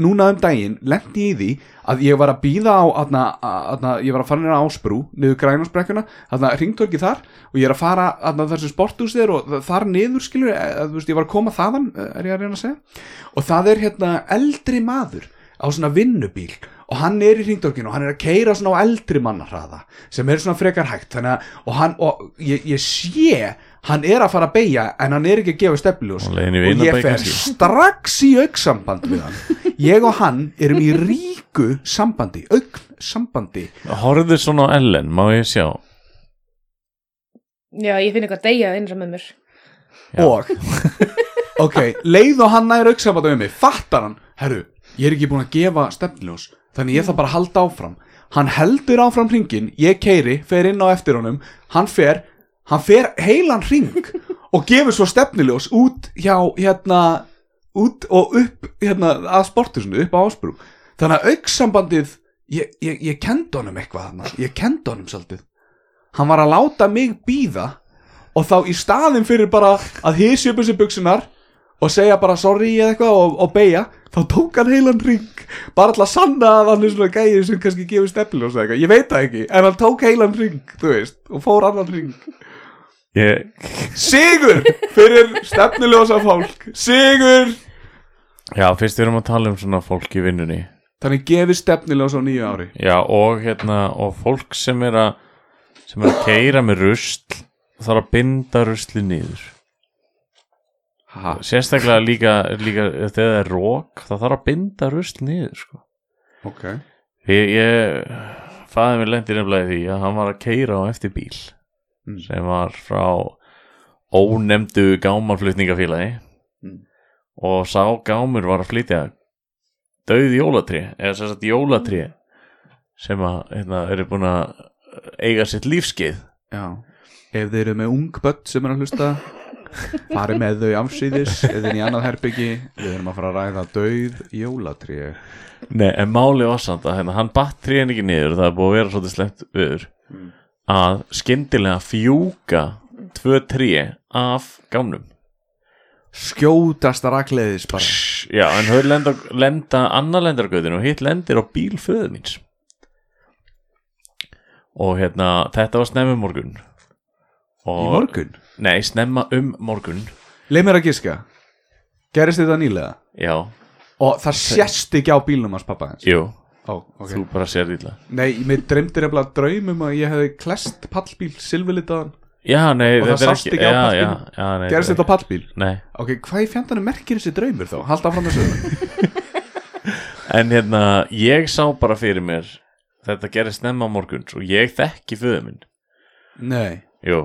[SPEAKER 2] núna um daginn lendi ég í því að ég var að býða á aðna, aðna, ég var að fara nýra ásbrú niður grænásbrekkuna, þarna ringtorki þar og ég er að fara aðna, þar sem sporthús þér og þ- þar niður skilur, eða, þú veist, ég var að koma þaðan eh, er ég að reyna að segja og það er hérna eldri maður á svona vinnubíl og hann er í ringdorkinu og hann er að keira svona á eldri mannahraða sem er svona frekar hægt þannig að, og, hann, og ég, ég sé hann er að fara að beigja en hann er ekki að gefa stefniljós
[SPEAKER 3] Á leiðinni í
[SPEAKER 2] og ég
[SPEAKER 3] vinabæ
[SPEAKER 2] fer
[SPEAKER 3] kannski.
[SPEAKER 2] strax í auksamband við hann ég og hann erum í ríku sambandi, augn sambandi
[SPEAKER 3] horfðu svona á Ellen, má ég sjá
[SPEAKER 5] Já, ég finn eitthvað deyja innra með mér.
[SPEAKER 3] Já.
[SPEAKER 2] og ok, leið og hann nær auksambandi með mig, fattar hann herru, ég er ekki búin að gefa stefniljós þannig ég þarf bara að halda áfram hann heldur áfram hringin, ég keiri fer inn á eftir honum, hann fer hann fer heilan hring og gefur svo stefniljós út hjá hérna, út og upp hérna, að sportusinu, upp á ásbrú þannig að auksambandið ég, ég, ég kendi honum eitthvað þarna, ég kendi honum svolítið hann var að láta mig býða og þá í staðin fyrir bara að hysja upp þessi buksunar og segja bara sorry eða eitthvað og, og beigja þá tók hann heilan ring bara alltaf sanna að hann er svona gæði sem kannski gefur stefniljós eða eitthvað, ég veit það ekki en hann tók heilan ring, þú veist, og fór annan ring
[SPEAKER 3] ég,
[SPEAKER 2] Sigur fyrir stefniljósa fólk Sigur
[SPEAKER 3] já, fyrst við erum að tala um svona fólk í vinnunni
[SPEAKER 2] Þannig gefið stefniljósa á nýju ári
[SPEAKER 3] já, og hérna, og fólk sem er að sem er að keira með rusl þarf að binda rusli niður
[SPEAKER 2] ha.
[SPEAKER 3] sérstaklega líka, líka þegar það er rók, það þarf að binda rusl niður, sko
[SPEAKER 2] Ok
[SPEAKER 3] Ég, ég fæði mér lendir nefnilega í því að hann var að keira á eftir bíl
[SPEAKER 2] Mm.
[SPEAKER 3] sem var frá ónefndu gámarflutningafélagi
[SPEAKER 2] Mm.
[SPEAKER 3] og sá gámur var að flytja dauð jólatrí eða sem sagt jólatrí
[SPEAKER 2] Mm.
[SPEAKER 3] sem að hérna, eru búin að eiga sitt lífskeið
[SPEAKER 2] Já Ef þeir eru með ung börn sem er að hlusta farið með þau afsýðis eða inn í annað herbyggi Við erum að fara að ræða dauð jólatríu
[SPEAKER 3] Nei, en máli var samt að hérna, hann batt tríðan ekki niður það er búið að vera svolítið slemt viður
[SPEAKER 2] Mm.
[SPEAKER 3] að skyndilega fjúka tvö tríi af gámnum
[SPEAKER 2] Skjótast að rakleiðis bara
[SPEAKER 3] Já, en þau lenda, lenda annar lendir á göðinu og hitt lendir á bíl föðu míns og hérna þetta var snemma um morgun og,
[SPEAKER 2] Í morgun
[SPEAKER 3] Nei, snemma um morgun
[SPEAKER 2] Leif mér að giska Gerist þetta nýlega
[SPEAKER 3] Já,
[SPEAKER 2] Og það sést ekki á bílnum hans pappa hans
[SPEAKER 3] jú
[SPEAKER 2] Ó, ok
[SPEAKER 3] Þú bara sér illa
[SPEAKER 2] Nei, mér dreymdi nefnilega draum um að ég hefði klest pallbíl silfurlitaðan
[SPEAKER 3] Já, nei,
[SPEAKER 2] Og það
[SPEAKER 3] þetta er
[SPEAKER 2] sást
[SPEAKER 3] ekki
[SPEAKER 2] ekki á
[SPEAKER 3] já, já,
[SPEAKER 2] pallbílnum.
[SPEAKER 3] já, nei,
[SPEAKER 2] Gerðist þetta á pallbíl?
[SPEAKER 3] Nei,
[SPEAKER 2] Ok, hvað í fjandanum merkir þessi draumur þá? Halda áfram þessu
[SPEAKER 3] en hérna Ég sá bara fyrir mér Þetta gerðist snemma á morguns og ég þekki föðu minn
[SPEAKER 2] Nei
[SPEAKER 3] Jú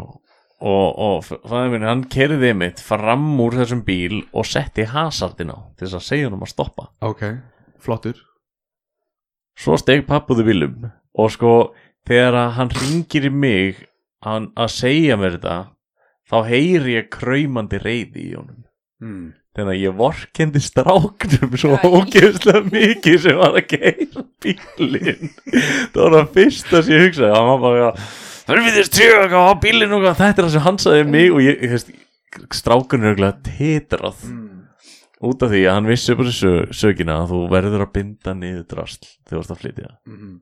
[SPEAKER 3] Og, og fæður minn, hann kerði mitt fram úr þessum bíl og setti hasardin á til þess að segja hann um að stoppa
[SPEAKER 2] Ok, flottur
[SPEAKER 3] svo steg pappuðu bílum og sko þegar að hann ringir í mig hann, að segja mér þetta þá heyri ég kraumandi reyði í honum Hmm,
[SPEAKER 2] mm.
[SPEAKER 3] þannig að ég vorkendi stráknum svo
[SPEAKER 5] Æ.
[SPEAKER 3] ógeðslega mikið sem var að keira bílinn það var það fyrsta sem ég hugsaði hann var bara þurfið þess tjöga á bílinn og eitthvað. þetta er það sem hann sagði við mig og ég, ég veist strákunum er auðvitað titrað út af því að hann vissi bara sö, sögina að þú verður að binda niður drasl þegar þú ert að flytja
[SPEAKER 2] Mhm.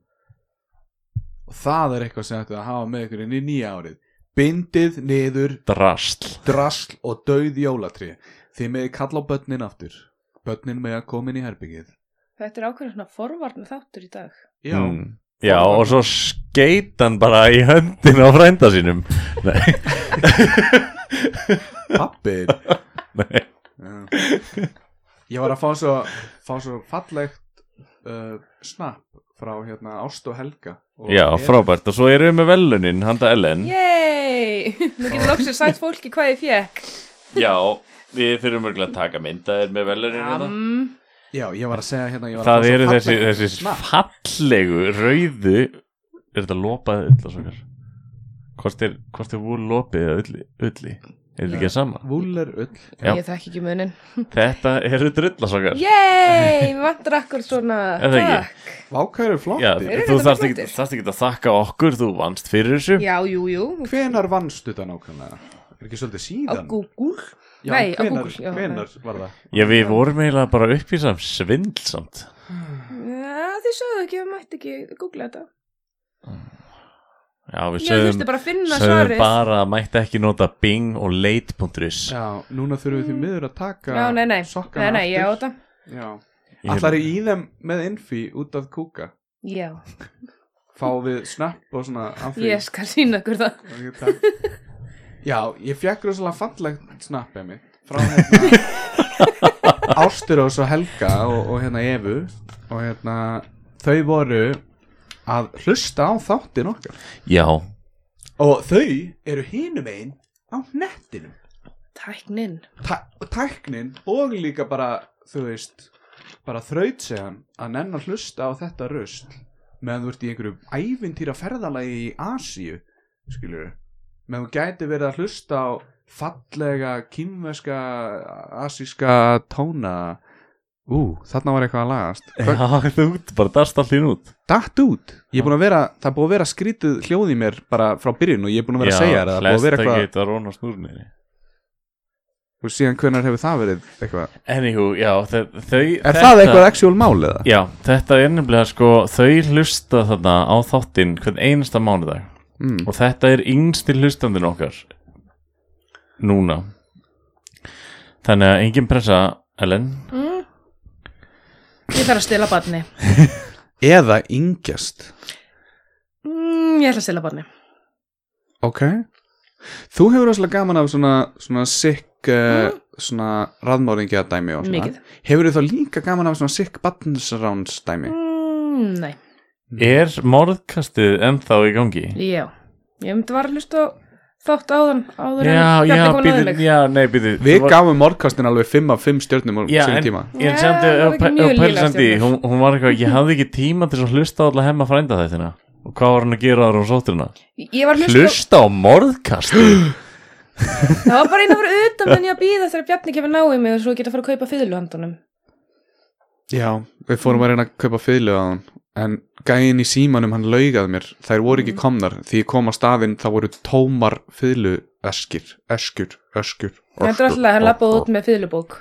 [SPEAKER 2] Og það er eitthvað sem ætti að hafa með ykkur inn í nýja árið Bindið niður
[SPEAKER 3] drasl
[SPEAKER 2] drasl og dauð jólatri Þið meði kalla á börnin aftur Börnin með að koma inn í herbyggið
[SPEAKER 5] Þetta er ákveðin svona forvarnu þáttur í dag.
[SPEAKER 2] Já,
[SPEAKER 3] Mm. Já, og svo skeit hann bara í höndin á frænda sínum Nei,
[SPEAKER 2] pappir
[SPEAKER 3] nei
[SPEAKER 2] Já. Ég var að fá svo, fá svo fallegt uh, snapp frá hérna Ást og Helga og
[SPEAKER 3] Já,
[SPEAKER 2] Eva-
[SPEAKER 3] frábært Og svo erum við með velunin, handa Ellen
[SPEAKER 5] Yey! Nú getur loksins sagt fólki hvað ég fekk.
[SPEAKER 3] Já, við þurfum örgulega að taka myndaðir með velunin hérna.
[SPEAKER 5] Um,
[SPEAKER 2] Já, ég var að segja hérna ég var að
[SPEAKER 3] Það
[SPEAKER 2] fá svo
[SPEAKER 3] eru þessi,
[SPEAKER 2] fallegt
[SPEAKER 3] þessi
[SPEAKER 2] snapp.
[SPEAKER 3] fallegu, rauðu Er þetta lopað ull og svakar? Hvort er, hvort er vúl lopið eða ulli? ulli? Er þetta ekki sama?
[SPEAKER 2] Vúll er ull
[SPEAKER 3] Já.
[SPEAKER 5] ég þekki ekki munin.
[SPEAKER 3] Þetta eru drullasokar
[SPEAKER 5] Yey! Við vantar akkur svona.
[SPEAKER 3] Er það ekki?
[SPEAKER 5] Takk.
[SPEAKER 2] Vákæru flottir
[SPEAKER 3] Já,
[SPEAKER 5] Eru
[SPEAKER 3] þú
[SPEAKER 5] þetta
[SPEAKER 3] þarft
[SPEAKER 5] flottir?
[SPEAKER 3] ekki, þarft ekki að þakka okkur Þú vannst fyrir þessu
[SPEAKER 5] Já, jú, jú.
[SPEAKER 2] Hvenar vannstu þetta nákvæmlega? Er ekki svolítið
[SPEAKER 5] Á
[SPEAKER 2] síðan?
[SPEAKER 5] Google.
[SPEAKER 2] Já,
[SPEAKER 5] Nei, á
[SPEAKER 2] hvenær-
[SPEAKER 5] Google, já,
[SPEAKER 2] Hvenær var það?
[SPEAKER 3] Já, við vorum eiginlega bara uppvísað um svindl samt.
[SPEAKER 5] Ja, þið sögðu ekki, við mætti ekki googla þetta.
[SPEAKER 3] Já, við
[SPEAKER 5] Ég
[SPEAKER 3] sögðum,
[SPEAKER 5] þurfti bara að finna
[SPEAKER 3] sögðum
[SPEAKER 5] svarið.
[SPEAKER 3] bara að mætti ekki nota Bing og leit.is.
[SPEAKER 2] Já, núna þurfum við því miður að taka
[SPEAKER 5] Já, nei, nei. Nei,
[SPEAKER 2] sokkana
[SPEAKER 5] nei, ég á
[SPEAKER 2] aftur
[SPEAKER 5] þetta.
[SPEAKER 2] Já,
[SPEAKER 3] Ég-
[SPEAKER 2] allar í þeim með infi út af kúka
[SPEAKER 5] Já,
[SPEAKER 2] Fá við snapp og svona af því.
[SPEAKER 5] ég skal sína ykkur það.
[SPEAKER 2] Og ég takk. Já, ég fekk rosalega fallegt snappið mitt frá hérna Ásturós og Helga og, og hérna Evu og hérna þau voru að hlusta á þáttin okkar
[SPEAKER 3] Já,
[SPEAKER 2] og þau eru hinum einn á nettinum
[SPEAKER 5] Tæknin.
[SPEAKER 2] Tæ tæknin og líka bara þú veist, bara þraut segjan að nenn að hlusta á þetta rusl meðan þú ert í einhverju ævintýra ferðalagi í Asíu skilur við, meðan þú gæti verið að hlusta á fallega kýmveska, asíska tóna ú, þarna var eitthvað að lagast Hvað-
[SPEAKER 3] já þú út, bara dast allt þín út.
[SPEAKER 2] datt út, ég er búin að vera það er búin að vera skrítið hljóð í mér bara frá byrjun og ég er búin að vera
[SPEAKER 3] já,
[SPEAKER 2] að segja þér að það er búin að vera
[SPEAKER 3] Flesta
[SPEAKER 2] eitthvað
[SPEAKER 3] geta rón á snúrniðri.
[SPEAKER 2] og síðan hvernar hefur það verið eitthvað
[SPEAKER 3] Anywho, já, þe- þau...
[SPEAKER 2] er það eitthvað actual mál eða?
[SPEAKER 3] Já, þetta er nefnilega sko, þau hlusta þarna á þáttinn hvern einasta mánudag
[SPEAKER 2] Mm.
[SPEAKER 3] og þetta er yngstir hlustandinn okkar núna. Þannig að engin pressa, Ellen,
[SPEAKER 5] Mm. Ég þarf að stila barni.
[SPEAKER 2] eða yngjast
[SPEAKER 5] Mm, ég ætla að stila barni.
[SPEAKER 2] ok þú hefur rosalega gaman af svona, svona sick uh, svona raðmáringja dæmi og svona
[SPEAKER 5] Mm. Mikið.
[SPEAKER 2] hefur þú þá líka gaman af svona sick buttonsrounds dæmi
[SPEAKER 5] Mm, nei,
[SPEAKER 3] er morðkastið ennþá í gangi?
[SPEAKER 5] já. Ég myndi var að hlusta á þátt áðan. áður en
[SPEAKER 3] Já,
[SPEAKER 5] Bjarni
[SPEAKER 3] já,
[SPEAKER 5] kom að náði mig.
[SPEAKER 3] býðu, já, nei, býðu
[SPEAKER 2] við gafum morgkastin alveg 5 af 5 stjörnum á
[SPEAKER 3] Já,
[SPEAKER 2] sínum
[SPEAKER 3] en-
[SPEAKER 2] tíma
[SPEAKER 3] Ég
[SPEAKER 5] Já,
[SPEAKER 3] sendi,
[SPEAKER 5] það var
[SPEAKER 3] og
[SPEAKER 5] ekki mjög
[SPEAKER 3] Pæli
[SPEAKER 5] lélegar
[SPEAKER 3] sendi,
[SPEAKER 5] stjörnur.
[SPEAKER 3] hún, hún var eitthvað, ég hafði ekki tíma til að hlusta á alla hemma frænda þetta Og hvað var hann að gera þar á sótturina?
[SPEAKER 5] Ég var að hlusta á
[SPEAKER 3] Hlusta á morðkastu
[SPEAKER 5] Það var bara einn að fara utan meðan ég að býða þegar Bjarni kemur náið mig og svo geta að fara að kaupa fiðlu handunum.
[SPEAKER 2] já, við fórum að reyna að kaupa fiðlu á hann en gæinn í símanum hann laugað mér þær voru
[SPEAKER 5] Mm.
[SPEAKER 2] ekki komnar því ég kom á staðinn þá voru tómar fiðlu eskir, eskjur, öskjur
[SPEAKER 5] Þetta er alltaf að hann lappaði út með fiðlubók.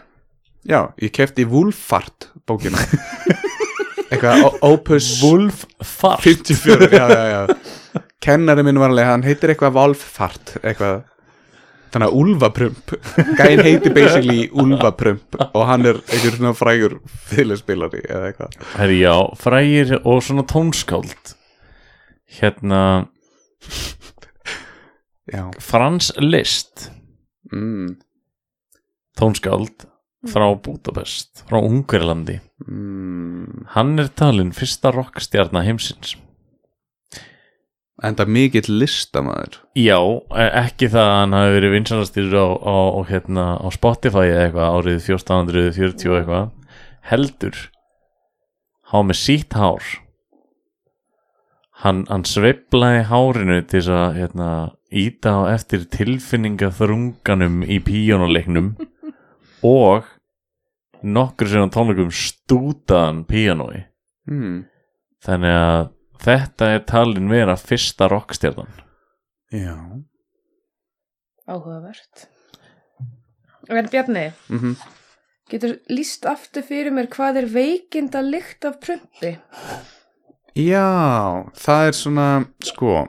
[SPEAKER 2] Já, ég kefti Wolfart bókina Eitthvað o- Opus
[SPEAKER 3] Wolf Fart
[SPEAKER 2] 54 já, já, já. Kennari minn var alveg, hann heitir eitthvað Wolfart eitthvað. Þannig að Ulfaprump Gæin heiti basically Ulfaprump og hann er einhver svona frægur fyrirspilari eða eitthvað
[SPEAKER 3] Herri, já, frægir og svona tónskáld Hérna,
[SPEAKER 2] Já,
[SPEAKER 3] Frans List
[SPEAKER 2] mm,
[SPEAKER 3] Tónskáld frá Budapest, frá Ungverlandi
[SPEAKER 2] mm.
[SPEAKER 3] Hann er talinn fyrsta rockstjarna heimsins
[SPEAKER 2] Enda mikill listamaður
[SPEAKER 3] Já, e- ekki það að hann hafi verið vinsanastýrur á, á, á, hérna, á Spotify eða eitthvað árið 1440 og eitthvað heldur hafa með sítt hár hann, hann sveiflaði hárinu til þess að hérna, íta á eftir tilfinningaþrunganum í píjónuleiknum og nokkur sem á tónleikum stútaðan píjónui
[SPEAKER 2] mm.
[SPEAKER 3] þannig að þetta er talin vera fyrsta rockstjarnan
[SPEAKER 2] Já
[SPEAKER 5] Áhugavert. En Bjarni,
[SPEAKER 2] mm -hmm.
[SPEAKER 5] getur líst aftur fyrir mér hvað er veikinda lykt af prumpi?
[SPEAKER 2] Já, það er svona, sko,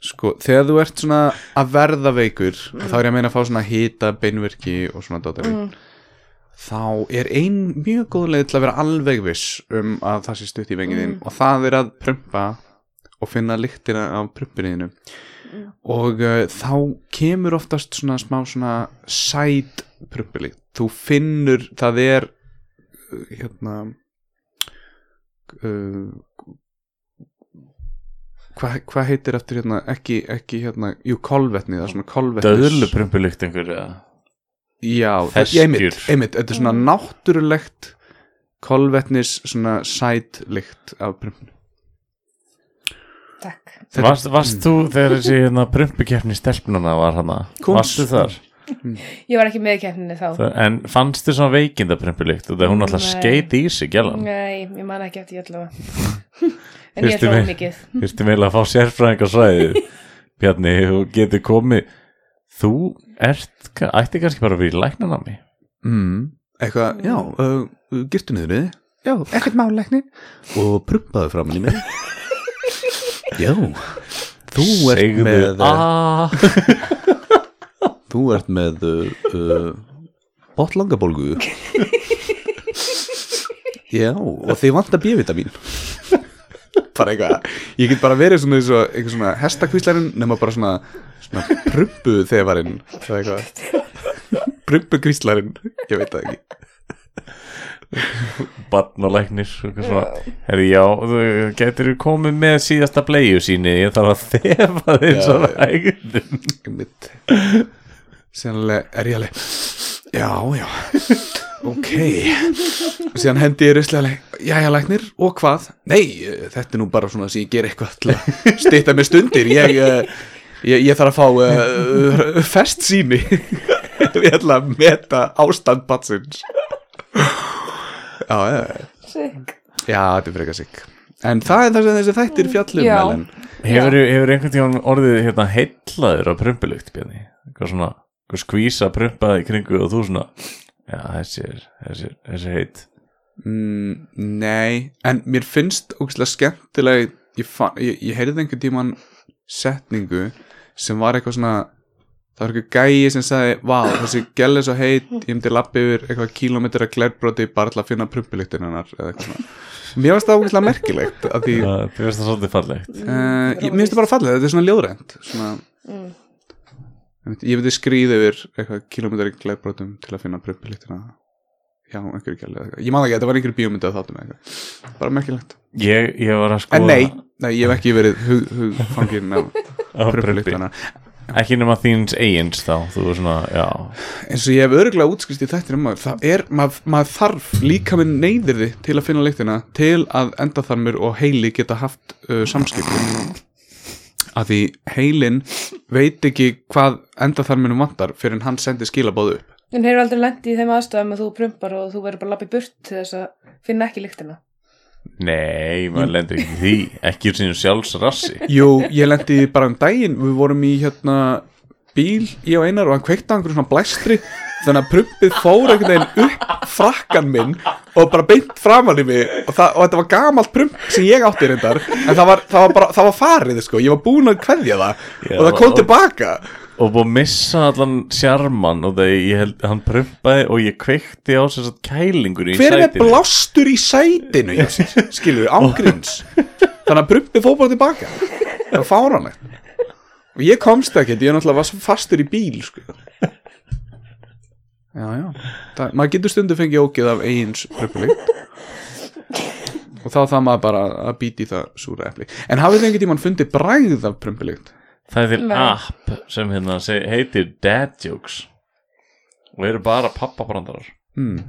[SPEAKER 2] sko, þegar þú ert svona að verða veikur, mm. þá er ég að meina að fá svona hýta, beinverki og svona dóttari,
[SPEAKER 5] Mm.
[SPEAKER 2] þá er ein mjög góð leið til að vera alveg viss um að það sé stutt í vengiðin mm. og það er að prumpa og finna lyktina af prumpinniðinu
[SPEAKER 5] Mm.
[SPEAKER 2] og uh, þá kemur oftast svona smá svona sæt prumpilíkt, þú finnur, það er, uh, hérna, uh, hvað hva heitir eftir hérna ekki, ekki hérna, jú kolvetni það er svona kolvetnis
[SPEAKER 3] Döðluprumpulykt einhver eða
[SPEAKER 2] já, það-
[SPEAKER 3] Festjur.
[SPEAKER 2] ég- einmitt, einmitt, þetta er svona náttúrulegt kolvetnis svona sætlykt af prumpinu
[SPEAKER 5] Takk.
[SPEAKER 2] Þetta-
[SPEAKER 3] Varst, varst þú þegar þessi hérna, prumpukeppni stelpnuna var hana?
[SPEAKER 2] Komst-
[SPEAKER 3] Varstu þar?
[SPEAKER 5] Ég var ekki með í keppninni þá.
[SPEAKER 3] Það, en fannstu svona veikinda prumpulikt og það hún alltaf
[SPEAKER 5] Nei.
[SPEAKER 3] skeiti í sig gælan?
[SPEAKER 5] Nei, ég man ekki eftir ég allavega. en ég
[SPEAKER 3] Fyrstu
[SPEAKER 5] hlóð
[SPEAKER 3] mig.
[SPEAKER 5] mikið.
[SPEAKER 3] Þurfti meila að fá sérfræðing á svæðið Bjarni, þú getur komið Þú ert ka- ætti kannski bara að vera í læknanami
[SPEAKER 2] mm. eitthvað, já, uh, girtu niður þið já, ekkert máleikni
[SPEAKER 4] og prumpaði framan í mig já
[SPEAKER 2] þú ert eh,
[SPEAKER 3] Segðu
[SPEAKER 4] með-
[SPEAKER 3] "Ah."
[SPEAKER 4] þú ert með uh, uh, botlangabólgu
[SPEAKER 2] já, og þið vantar B-vitamin bara eitthvað ég get bara verið svona, svona, eitthvað svona hestakvíslarinn nema bara svona, svona prumpu þefarinn prumpu kvíslarinn ég veit það ekki
[SPEAKER 3] barnalæknir og eitthvað svona. Herri, já, þú getur komið með síðasta bleiðu síni ég þarf að þefa þeim
[SPEAKER 2] Já,
[SPEAKER 3] svo
[SPEAKER 2] já.
[SPEAKER 3] rægundum
[SPEAKER 2] mitt síðanlega er ég alveg já, já, ok síðan hendi ég ruslega jæja læknir og hvað nei, eh, þetta er nú bara svona sem ég ger eitthvað til að stýta mér stundir ég, eh, ég, ég þarf að fá uh, fest síni ég ætla að meta ástand batsins já, já, já.
[SPEAKER 5] Sikk.
[SPEAKER 2] já, þetta er frekar sikk en það er það sem þessi þættir fjallum
[SPEAKER 5] Já.
[SPEAKER 2] Ellen.
[SPEAKER 3] Hefur, hefur einhvern tímann orðið hérna heillaður á prumpulykt Bjarni? Eitthvað svona, eitthvað skvísa prumpaði í kringu og þú svona Já, þessi er, þessi, er- þessi er heitt
[SPEAKER 2] Mm, nei, en mér finnst ógæslega skemmtilega ég, fann, ég, ég heyrði einhvern tíman setningu sem var eitthvað svona það var eitthvað gæi sem sagði vá, þessi gæli er svo heit, ég myndi lappi yfir eitthvað kilómetra glerbroti bara til að finna prumpuliktin hennar eða eitthvað svona mér finnst það ógæslega merkilegt af því, uh,
[SPEAKER 3] Það þú veist það svolítið fallegt
[SPEAKER 2] Eh, ég, mér finnst það bara fallið, þetta er svona ljóðrænt svona,
[SPEAKER 5] Mm.
[SPEAKER 2] einmitt, ég myndi skrýða yfir eitthvað kilómetra glerbrotum til að finna prumpuliktina já, einhverju gæli ég man það ekki, þetta var einhverju bíómyndu að þáttum eitthvað bara merkilegt
[SPEAKER 3] ég, ég var að skoða
[SPEAKER 2] En nei, nei, ég hef ekki verið hug, hugfangin af
[SPEAKER 3] á prumpi
[SPEAKER 2] prumpuliktana
[SPEAKER 3] Ekki nema þíns eigins þá Þú er svona, já
[SPEAKER 2] eins og ég hef örgulega útskrist í þættir um maður, það er, maður, maður þarf líka minn neyðir því til að finna lyktina til að endaþarmur og heili geta haft uh, samskiptum að því heilin veit ekki hvað endaþarmunum vantar fyrir en hann sendir skilabóð upp
[SPEAKER 5] En hefur aldrei lendið í þeim aðstæðum að þú prumpar og þú verður bara lappið burt til þess að finna ekki lyktina.
[SPEAKER 3] Nei, maður lendir ekki í því Ekki úr sínum sjálfsrassi
[SPEAKER 2] Jú, ég lendi því bara um daginn Við vorum í hérna bíl Ég og Einar og hann kveikti á einhverjum svona blæstri Þannig að prumpið fór einhvern veginn upp frakkan minn og bara beint framan í mig og, það, og þetta var gamalt prump sem ég átti reyndar en það var, það var, bara, það var farið sko, ég var búin að kveðja það
[SPEAKER 3] Já,
[SPEAKER 2] og það kom
[SPEAKER 3] og-
[SPEAKER 2] tilbaka
[SPEAKER 3] og búið að missa allan sjarman og það ég held, hann prumpaði og ég kveikti á sér satt kælingur í
[SPEAKER 2] hver er með
[SPEAKER 3] sætinu.
[SPEAKER 2] blástur í sætinu hjá sér, skilur við, ángríns þannig að brumpi fótból tilbaka það var fáranlegt og ég komst ekkert, ég náttúrulega var svo fastur í bíl sko. já, já það, maður getur stundu fengið ógið af eigins brumpulikt og þá það maður bara að býti það súra epli en hafið þið einhvern tímann fundið bræð af brumpulikt
[SPEAKER 3] Það er til
[SPEAKER 5] Nei.
[SPEAKER 3] app sem hérna seg, heitir Dad Jokes og eru bara pappabrandarar
[SPEAKER 2] hmm.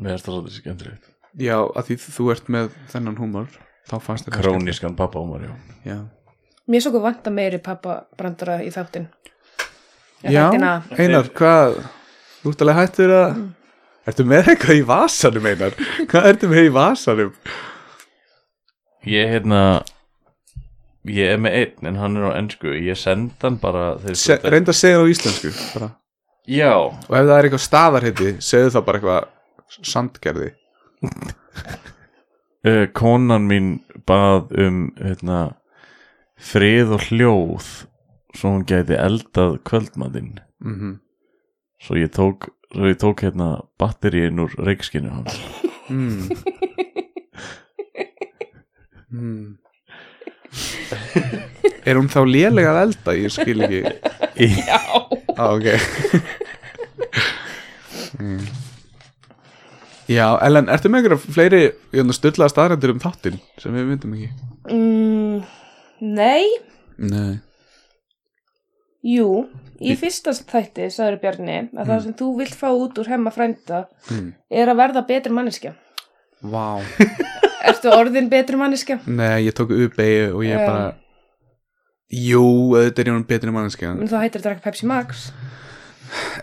[SPEAKER 3] Mér er það svolítið skemmtilegt
[SPEAKER 2] já, að því þú ert með þennan húmor þá fannst þér það
[SPEAKER 3] Krónískan pappahúmar, já
[SPEAKER 2] skemmt. já,
[SPEAKER 5] Mér er svo vanta meiri pappa brandara í þáttin.
[SPEAKER 2] Já, Einar, hvað Þú ert alveg hættur að Ertu með eitthvað í vasanum, Einar? Hvað ertu með í vasanum?
[SPEAKER 3] Ég hérna Ég er með einn en hann er á ennsku Ég send hann bara þegar
[SPEAKER 2] Se,
[SPEAKER 3] þetta-
[SPEAKER 2] reynda að segja það á íslensku bara.
[SPEAKER 3] Já,
[SPEAKER 2] Og ef það er eitthvað staðarheiti segðu það bara eitthvað sandgerði
[SPEAKER 3] uh, konan mín bað um hérna, frið og hljóð svo hún gæti eldað kvöldmatinn
[SPEAKER 2] mm -hmm.
[SPEAKER 3] svo ég tók, svo ég tók hérna batteríin úr reikskinu hans
[SPEAKER 2] mm. Mm. Er hún þá lélega að elda? Ég skil ekki
[SPEAKER 3] Í-
[SPEAKER 2] ah, okay. mm. Já, Ellen, ertu með einhverja fleiri stöðlaða staðarendur um þáttinn sem við myndum ekki?
[SPEAKER 5] Mm, nei,
[SPEAKER 2] Nei
[SPEAKER 5] jú, í fyrsta þætti, sagður Bjarni, að það sem þú vilt fá út úr hemma frænda
[SPEAKER 2] Mm.
[SPEAKER 5] er að verða betri manneskja.
[SPEAKER 2] Vá
[SPEAKER 5] Ertu orðin betri manneskja?
[SPEAKER 2] Nei, ég tók upp eigu og ég
[SPEAKER 5] Já.
[SPEAKER 2] bara Jú, auðvitað er ég hún betri manneskja
[SPEAKER 5] En þá hættir að drakka Pepsi Max.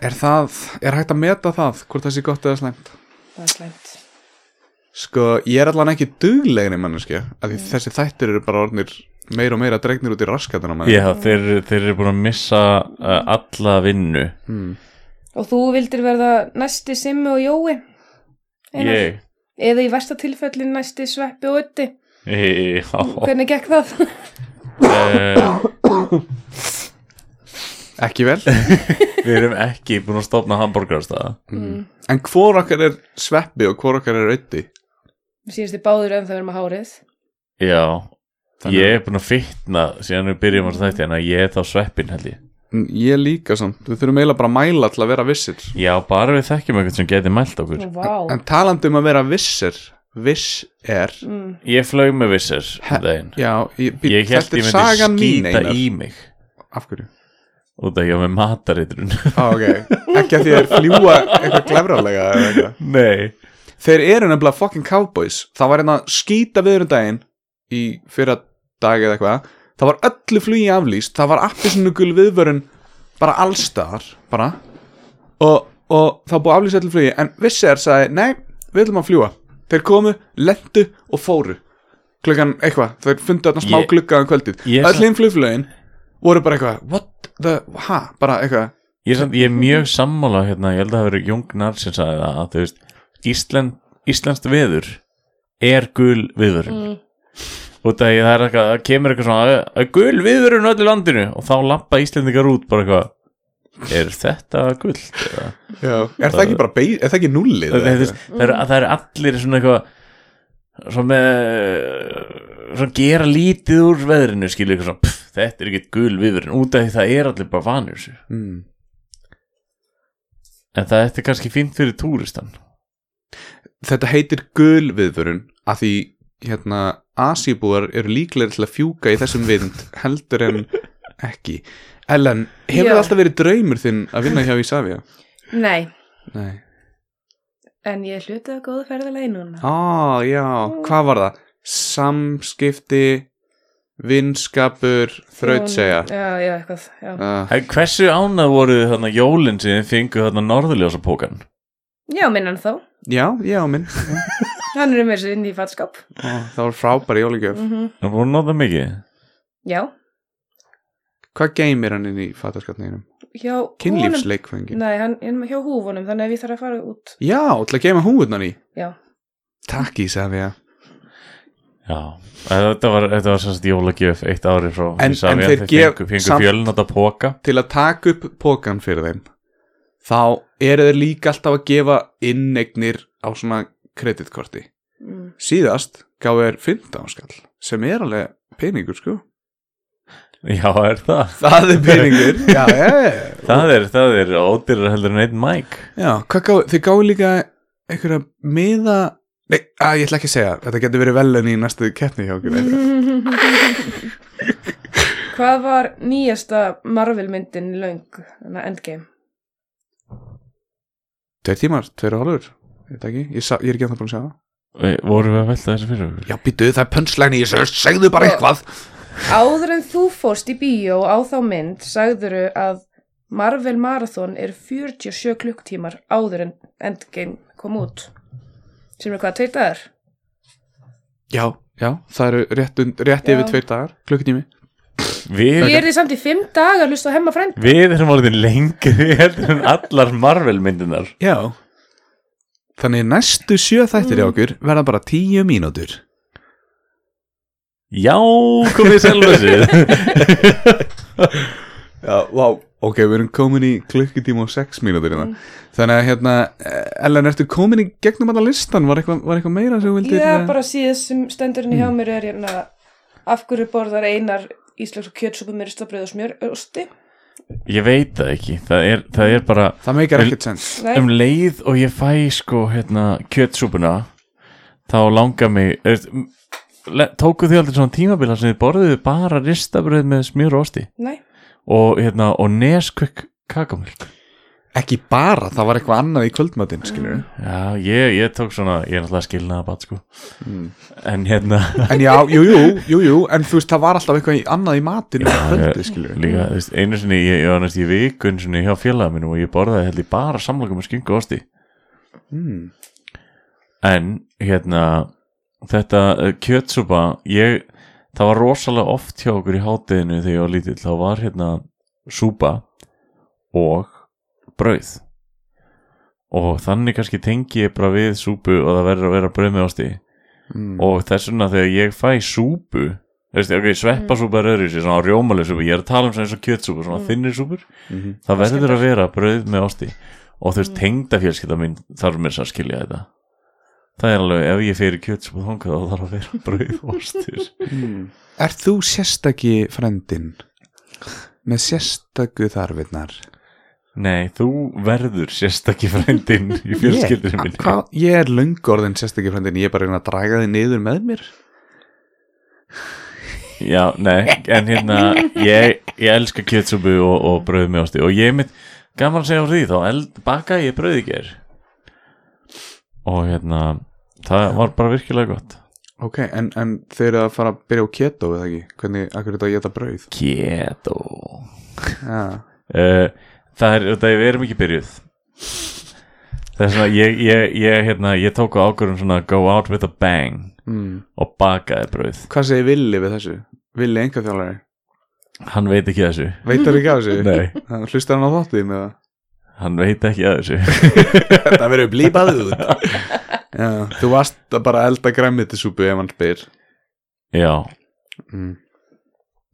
[SPEAKER 2] Er það, er hægt að meta það hvort það sé gott eða slæmt?
[SPEAKER 5] Það er slæmt.
[SPEAKER 2] Sko, ég er allan ekki duglegri manneskja af því þessi þættir eru bara orðnir meira og meira dregnir út í raskatina maður
[SPEAKER 3] Já, þeir, þeir eru búin að missa uh, alla vinnu
[SPEAKER 2] mm.
[SPEAKER 5] Og þú vildir verða næsti Simmi og Jói? Einar?
[SPEAKER 3] Ég
[SPEAKER 5] Eða í versta tilfellin næsti Sveppi og Ötti?
[SPEAKER 3] Já,
[SPEAKER 5] Hvernig gekk það?
[SPEAKER 3] uh,
[SPEAKER 2] Ekki vel
[SPEAKER 3] við erum ekki búin að stopna hambúrgarstaða
[SPEAKER 5] Mm.
[SPEAKER 2] En hvor okkar er sveppi og hvor okkar er auði?
[SPEAKER 5] Síðast þið báður en það verðum að hárið.
[SPEAKER 3] Já,
[SPEAKER 2] Þannig-
[SPEAKER 3] ég er búin að fitna síðan við byrjum á þessu þætti en að ég er þá sveppin held ég
[SPEAKER 2] Ég líka samt, við þurfum eiginlega bara að mæla til að vera vissir
[SPEAKER 3] Já, bara við þekkjum eitthvað sem geti mælt okkur
[SPEAKER 5] Vá.
[SPEAKER 2] En talandi um að vera vissir Viss er
[SPEAKER 5] Mm.
[SPEAKER 3] Ég flög með vissir um daginn
[SPEAKER 2] Já, ég,
[SPEAKER 3] Ég held
[SPEAKER 2] þetta
[SPEAKER 3] ég
[SPEAKER 2] er
[SPEAKER 3] myndi
[SPEAKER 2] sagan mín,
[SPEAKER 3] skýta
[SPEAKER 2] Einar.
[SPEAKER 3] í mig
[SPEAKER 2] Af hverju?
[SPEAKER 3] út að ég var með mataritrun
[SPEAKER 2] ah, ok, ekki að því að fljúa eitthvað glefralega eða eitthvað.
[SPEAKER 3] Nei
[SPEAKER 2] þeir eru nefnilega fucking cowboys það var hérna skýta viðurum daginn í fyrra dag eða eitthvað það var öllu flugi aflýst það var appisnugul viðvörun bara allstar bara. Og, og það var búið að aflýsa öllu flugi en vissi er sagði, nei, við ætlum að fljúa þeir komu, lendu og fóru klukkan eitthvað, þeir fundu þarna smá
[SPEAKER 3] Ég-
[SPEAKER 2] glugga um kvöldið,
[SPEAKER 3] Ég-
[SPEAKER 2] öll hinn flugflögin voru bara eitthvað, what the, ha bara eitthvað,
[SPEAKER 3] Ég er, samt, ég er mjög sammála hérna, ég held að það verið Jung Nars sem sagði það að þú veist, Ísland, Íslandst veður er gul viðvörun
[SPEAKER 5] Mm.
[SPEAKER 3] út að ég, það er eitthvað, það kemur eitthvað svona "Æ, æ, gul viðvörun öllu landinu og þá lappa Íslendingar út bara eitthvað er þetta gult eða
[SPEAKER 2] já, er það ekki bara beig, er það ekki nullið
[SPEAKER 3] það,
[SPEAKER 2] eða
[SPEAKER 3] það,
[SPEAKER 2] eitthvað?
[SPEAKER 3] það, það, er, það er allir svona eitthvað svona með svona gera lítið úr veðrinu skilur eitthvað svona, pff, þetta er ekkert gul viðurinn út af því það er allir bara vanur þessu
[SPEAKER 2] Mm.
[SPEAKER 3] en það þetta er kannski fínt fyrir túristan
[SPEAKER 2] Þetta heitir gul viðvörun að því hérna asíbúar eru líklega til að fjúka í þessum vind heldur en ekki Ellen, hefur
[SPEAKER 5] Já.
[SPEAKER 2] það alltaf verið draumur þinn að vinna hjá Ísafja?
[SPEAKER 5] Nei,
[SPEAKER 2] Nei
[SPEAKER 5] en ég hlutið að góðu ferðalegi núna.
[SPEAKER 2] Á, Ah, já, hvað var það? Samskipti vinskapur þrautseja
[SPEAKER 5] Þjón- Já, já, eitthvað, já.
[SPEAKER 2] uh,
[SPEAKER 3] en hversu ánað voru þið þarna jólinn sem þið fengu þarna norðurljósa pókan
[SPEAKER 5] Já, minna hann þá.
[SPEAKER 2] Já, já, minn
[SPEAKER 5] Hann er um þessu inn í fatskáp.
[SPEAKER 2] Ó, Það var frábæri jólugjöf
[SPEAKER 5] Mm
[SPEAKER 3] það voru notað mikið
[SPEAKER 5] Já,
[SPEAKER 2] Hvað geimir hann inn í fatarskatninginum?
[SPEAKER 5] hjá húfunum.
[SPEAKER 2] Kynlífsleikfengin
[SPEAKER 5] Nei, hann er hjá húfunum, þannig að við þarf að fara út.
[SPEAKER 2] Já, til að geima húðunan í
[SPEAKER 5] Já.
[SPEAKER 2] Takk Ísafja
[SPEAKER 3] Já, en þetta var, þetta var semst jólagjöf eitt ári frá
[SPEAKER 2] En-
[SPEAKER 3] Isavia.
[SPEAKER 2] en þeir gef-
[SPEAKER 3] fengu, fengu
[SPEAKER 2] samt-
[SPEAKER 3] fjölnota póka
[SPEAKER 2] til að taka upp pókan fyrir þeim þá eru þeir líka alltaf að gefa innegnir á svona kreditkorti
[SPEAKER 5] Mm.
[SPEAKER 2] síðast gáðu þeir 15 skall sem er alveg peningur sko
[SPEAKER 3] Já, er það?
[SPEAKER 2] það er peningur já, já, já.
[SPEAKER 3] Það er, það er ódýrar heldur en einn mæk
[SPEAKER 2] já hvað gáðu, þeir gáðu líka einhverja miða nei, að, ég ætla ekki að segja, þetta getur verið velun í næstu keppni hjá okkur
[SPEAKER 5] Hvað var nýjasta Marvel myndin löng, þannig að Endgame?
[SPEAKER 2] tveir tímar, tveir og hálfur ég, veit það ekki, ég, sa, ég er ekki að það búin að segja það
[SPEAKER 3] Vorum við að velta þessu fyrir okkur?
[SPEAKER 2] já, býtu, það er pönslæni, ég segðu, segðu bara eitthvað
[SPEAKER 5] Áður en þú fórst í bíó á þá mynd sagðuru að Marvel Marathon er 47 klukktímar áður en Endgame kom út. Sem er hvað, tveir dagar?
[SPEAKER 2] já, já, það eru rétt, und, rétt
[SPEAKER 5] Já.
[SPEAKER 2] yfir tveir dagar, klukkutími
[SPEAKER 3] Við,
[SPEAKER 5] Ég er því samt í fimm dagar að hlusta á hemma frænd.
[SPEAKER 3] við erum orðin lengri heldur en allar Marvel myndinar
[SPEAKER 2] Já Þannig næstu sjö þættir í
[SPEAKER 5] Mm.
[SPEAKER 2] okkur verða bara tíu mínútur
[SPEAKER 3] Já, komið sjálf þessu
[SPEAKER 2] Já, vá Ok, við erum komin í klukkutíma og sex mínútur mm. Þannig að hérna eh, Ellen, ertu komin í gegnum alla listan? Var eitthvað, var eitthvað meira sem þú vildir?
[SPEAKER 5] Já,
[SPEAKER 2] eh,
[SPEAKER 5] bara síðast sem stendurinn hjá mér er hérna af hverju borðar einar íslensk kjötsúpu með ristabröð og smjör osti.
[SPEAKER 3] Ég veit það ekki, það er, það er bara
[SPEAKER 2] Það meikar ekkert sens
[SPEAKER 5] Nei,
[SPEAKER 3] um leið og ég fæ sko hérna kjötsúpuna þá langar mig er, tóku því aldrei svona tímabila sem þið borðuðu bara ristabröð með smjör og osti
[SPEAKER 5] nei.
[SPEAKER 3] og hérna og neskvökk kakamilk
[SPEAKER 2] Ekki bara, það var eitthvað annað í kvöldmatinn, skilur
[SPEAKER 5] Mm.
[SPEAKER 3] Já, ég, ég tók svona, ég er náttúrulega skilnaða bat sko en hérna
[SPEAKER 2] En já, jú, jú, jú, jú En þú veist, það var alltaf eitthvað í- annað í matinn um kvöldi, skilur
[SPEAKER 3] líka, þú veist, einu sinni ég, ég var næst í vikun sinni hjá félaga mínum og ég borðaði held ég bara samlokum með skingu og osti
[SPEAKER 2] mm.
[SPEAKER 3] en hérna þetta eh, kjötsúpa ég, það var rosalega oft hjá okkur í hátteginu þegar ég var lítill þá var hérna súpa og brauð og þannig kannski tengi ég bara við súpu og það verður að vera brauð með osti
[SPEAKER 2] Mm.
[SPEAKER 3] og þess vegna þegar ég fæ súpu þú veist, ok, sveppasúpa er öðru sér svona rjómaleg súpa, ég er að tala um svona eins og kjötsúpa svona
[SPEAKER 5] Mm.
[SPEAKER 3] þinnir súpur,
[SPEAKER 2] Mhm.
[SPEAKER 3] það verður að vera brauð með osti og þú veist,
[SPEAKER 2] Mm.
[SPEAKER 3] tengdafjölskylda mín þarf mér svo að skilja þetta það er alveg, ef ég fyrir kjötsúpa þangað þá þarf að vera brauð og ostir
[SPEAKER 5] Mm.
[SPEAKER 2] Ert þú sérstaki frendin? Með sérstöku þarfinnar?
[SPEAKER 3] nei, þú verður sérstakki frændin í fjölskyldinu
[SPEAKER 2] Ég-
[SPEAKER 3] minni
[SPEAKER 2] Hvað? Ég er löngorðin sérstakir frændin, ég er bara að reyna að draga þið niður með mér
[SPEAKER 3] Já, nei, en hérna ég, ég elska kjötsúpu og, og brauð með osti og ég mitt, gaman að segja á því þá eld, bakaði ég brauð í ger og hérna það var bara virkilega gott
[SPEAKER 2] Ok, en, en þeir eru að fara að byrja á keto eða ekki? Hvernig, akkur er þetta að geta brauð?
[SPEAKER 3] Keto
[SPEAKER 2] Ja.
[SPEAKER 3] uh, Það er, þetta er, við erum ekki byrjuð Það er svona, ég, ég, ég, hérna, ég tók á ákvörðum svona go out with a bang
[SPEAKER 2] Mm.
[SPEAKER 3] og bakaði brauð
[SPEAKER 2] Hvað segir Villi við þessu? Villi enga þjálfari?
[SPEAKER 3] Hann veit ekki að þessu
[SPEAKER 2] Veitar ekki á þessu?
[SPEAKER 3] Nei,
[SPEAKER 2] Hann- Hlustar hann á þáttuðin eða?
[SPEAKER 3] hann veit ekki að þessu
[SPEAKER 2] Þetta verður blípað út Já, þú varst að bara elda græmitisúpu ef hann spyr
[SPEAKER 3] Já,
[SPEAKER 2] mm.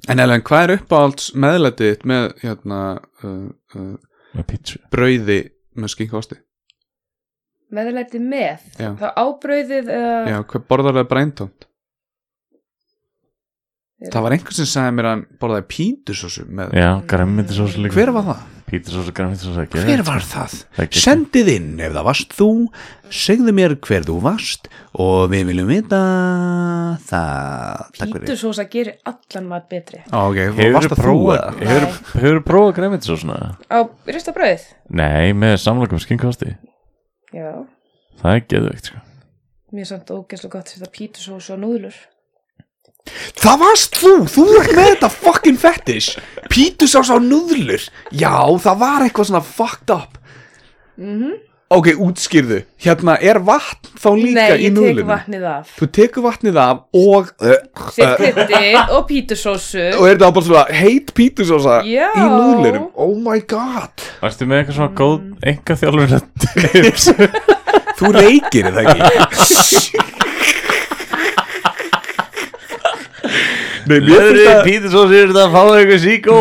[SPEAKER 2] En Ellen, hvað er uppáhalds meðlætið þitt með hérna, uh, uh,
[SPEAKER 3] með pítsu
[SPEAKER 2] brauði með skinkosti?
[SPEAKER 5] Meðlæti með.
[SPEAKER 2] Já.
[SPEAKER 5] Þá ábrauðið eða...
[SPEAKER 2] Já, hvað borðar það bræntónt? Það var einhver sem sagði mér að hann borðaði píndusósu með
[SPEAKER 3] Já, græmmitisós líka
[SPEAKER 2] Hver var það?
[SPEAKER 3] Pítursós og græmitisós ekki
[SPEAKER 2] Hver var það?
[SPEAKER 3] það? ekki-
[SPEAKER 2] Sendið inn ef það varst þú Segðu mér hver þú varst og við viljum vita það Takk fyrir
[SPEAKER 5] Pítursósa gerir allan mat betri.
[SPEAKER 2] Á, ok, þú
[SPEAKER 3] Hefurðu
[SPEAKER 2] varst að þú
[SPEAKER 3] prófað-
[SPEAKER 2] það
[SPEAKER 3] Hefurðu hefurðu prófað græmitisósuna?
[SPEAKER 5] Á ristabröðið?
[SPEAKER 3] Nei, með samlokum skinkosti
[SPEAKER 5] Já.
[SPEAKER 3] Það er geðveikt sko
[SPEAKER 5] Mér er samt ógeðslega gott að setja pítursósa og núðlur.
[SPEAKER 1] Það varst þú, þú er með þetta fucking fetish Pítusás á núðlur Já, það var eitthvað svona fucked up
[SPEAKER 2] Ok, útskýrðu, hérna er vatn þá líka
[SPEAKER 5] Mhm. Nei,
[SPEAKER 2] í
[SPEAKER 5] ég tek
[SPEAKER 2] núðlunum
[SPEAKER 5] vatnið af.
[SPEAKER 2] Þú tekur vatnið af og eh,
[SPEAKER 5] Sett kryttið og pítursósu.
[SPEAKER 2] Og er það bara svona heit pítusósa
[SPEAKER 5] Já.
[SPEAKER 2] í núðlunum
[SPEAKER 1] Oh my god
[SPEAKER 3] Varstu með eitthvað svona góð enga þjálfur tips?
[SPEAKER 2] Þú reykir er það ekki Nei, mér
[SPEAKER 3] Leður
[SPEAKER 2] finnst
[SPEAKER 3] í
[SPEAKER 2] það
[SPEAKER 3] pítisós er þetta að fá eitthvað síkó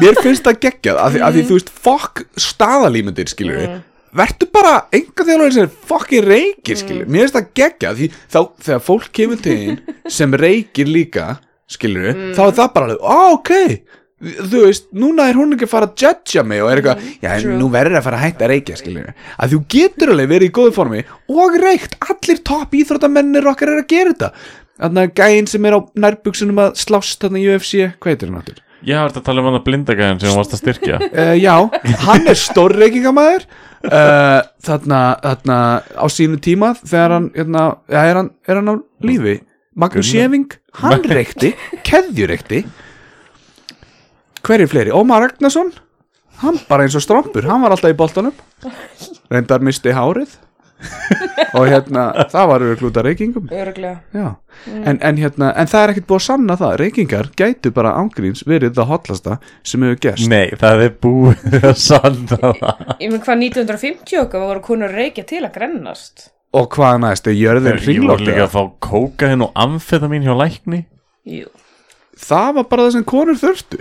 [SPEAKER 2] mér finnst það geggjað af því, af því þú veist, fokk staðalímyndir skilur við, vertu bara enga þegar þessir fokkin reykir skilur við mér finnst það geggjað því þá þegar fólk kemur til einn sem reykir líka skilur við, þá er það bara alveg, á ok þú veist, núna er hún ekki að fara að judgea mig og er eitthvað, já, en
[SPEAKER 5] true.
[SPEAKER 2] nú verður að fara að hætta að reykja, skiljum við, að þú getur alveg verið í góðu formi og reykt allir topp íþróttamennir okkar er að gera þetta þannig að gæinn sem er á nærbuksunum að slást þarna í UFC, hvað heitir hann áttur?
[SPEAKER 3] Já, ertu að tala um hann að blindagæðin sem hún varst að styrkja
[SPEAKER 2] Uh, já, hann er stórreikingamæður uh, þarna, þarna á sínu tíma þegar hann, hérna, ja, er, hann er hann á lífi Magnús
[SPEAKER 3] Gunnar.
[SPEAKER 2] Sjeving, hann reykti keðjureykti hverju fleiri, Ómar Ragnarsson hann bara eins og strompur, hann var alltaf í boltanum reyndar misti hárið og hérna það var örglúta reykingum
[SPEAKER 5] Öruglega
[SPEAKER 2] Já, en, en, hérna, en það er ekkert búið að sanna það reykingar gætu bara ángríns verið það hotlasta sem hefur gerst
[SPEAKER 3] Nei, það er búið að sanda það
[SPEAKER 5] Ég menn hvað 1950 okkar voru konur að reykja til að grennast
[SPEAKER 2] Og hvað næst, er jörðin
[SPEAKER 3] Ég voru
[SPEAKER 2] hringlótt
[SPEAKER 3] líka
[SPEAKER 2] eða?
[SPEAKER 3] að fá kókaðin og amfetamín hjá lækni
[SPEAKER 5] Jú
[SPEAKER 2] Það var bara það sem konur þurftu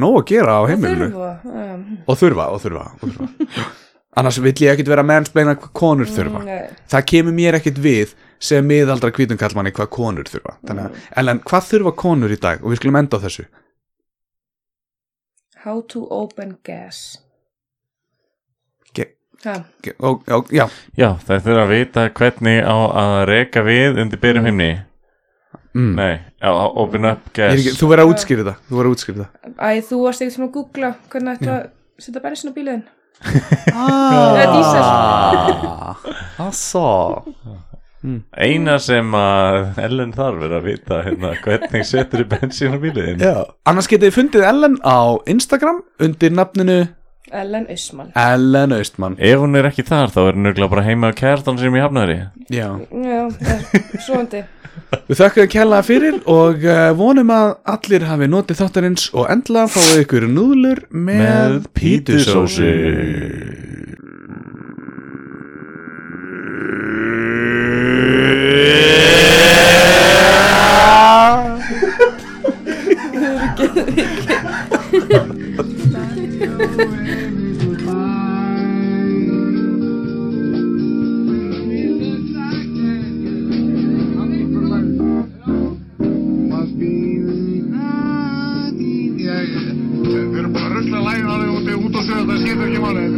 [SPEAKER 2] Nó að gera á heimilinu
[SPEAKER 5] Þurfa um,
[SPEAKER 2] Og þurfa, og þurfa, og þurfa. Annars vill ég ekkit vera mennsbeina hvað konur
[SPEAKER 5] Mm.
[SPEAKER 2] þurfa
[SPEAKER 5] nei.
[SPEAKER 2] Það kemur mér ekkit við sem miðaldra kvítunkallmanni hvað konur þurfa Þannig að, Ellen, hvað þurfa konur í dag? Og við skulum enda á þessu
[SPEAKER 5] How to open gas
[SPEAKER 2] Ge-
[SPEAKER 5] Ha,
[SPEAKER 2] Ge- og, og, Já,
[SPEAKER 3] Já, það er þurfa að vita hvernig á að reka við undir byrjum himni
[SPEAKER 2] mm.
[SPEAKER 3] Nei, já, open up
[SPEAKER 2] Ég
[SPEAKER 3] gas
[SPEAKER 2] er ekki, þú verður að útskýra það Þú verður að útskýra það
[SPEAKER 5] Æ, þú varst ekkert svona að googla hvernig ættu að setja bensin á bílinn
[SPEAKER 4] Ah,
[SPEAKER 5] Eða dísel
[SPEAKER 4] Asså.
[SPEAKER 3] Eina sem að Ellen þarf er að vita hérna, hvernig setur þið bensín á bíliðin
[SPEAKER 2] Já. Annars getið þið fundið Ellen á Instagram undir nafninu
[SPEAKER 5] Ellen Usman
[SPEAKER 2] Ellen Austmann
[SPEAKER 3] Ef hún er ekki þar þá er hún nöglega bara heima á kærtan sem ég hafnaði
[SPEAKER 2] Já
[SPEAKER 5] Já, eh, svoandi
[SPEAKER 2] Við þökkum að kella fyrir og uh, vonum að allir hafi notið þáttarins og endla fáið ykkur núðlur með,
[SPEAKER 6] Við erum bara að rusla lægin á þig og þið út á sögðu, það skiptir ekki málið.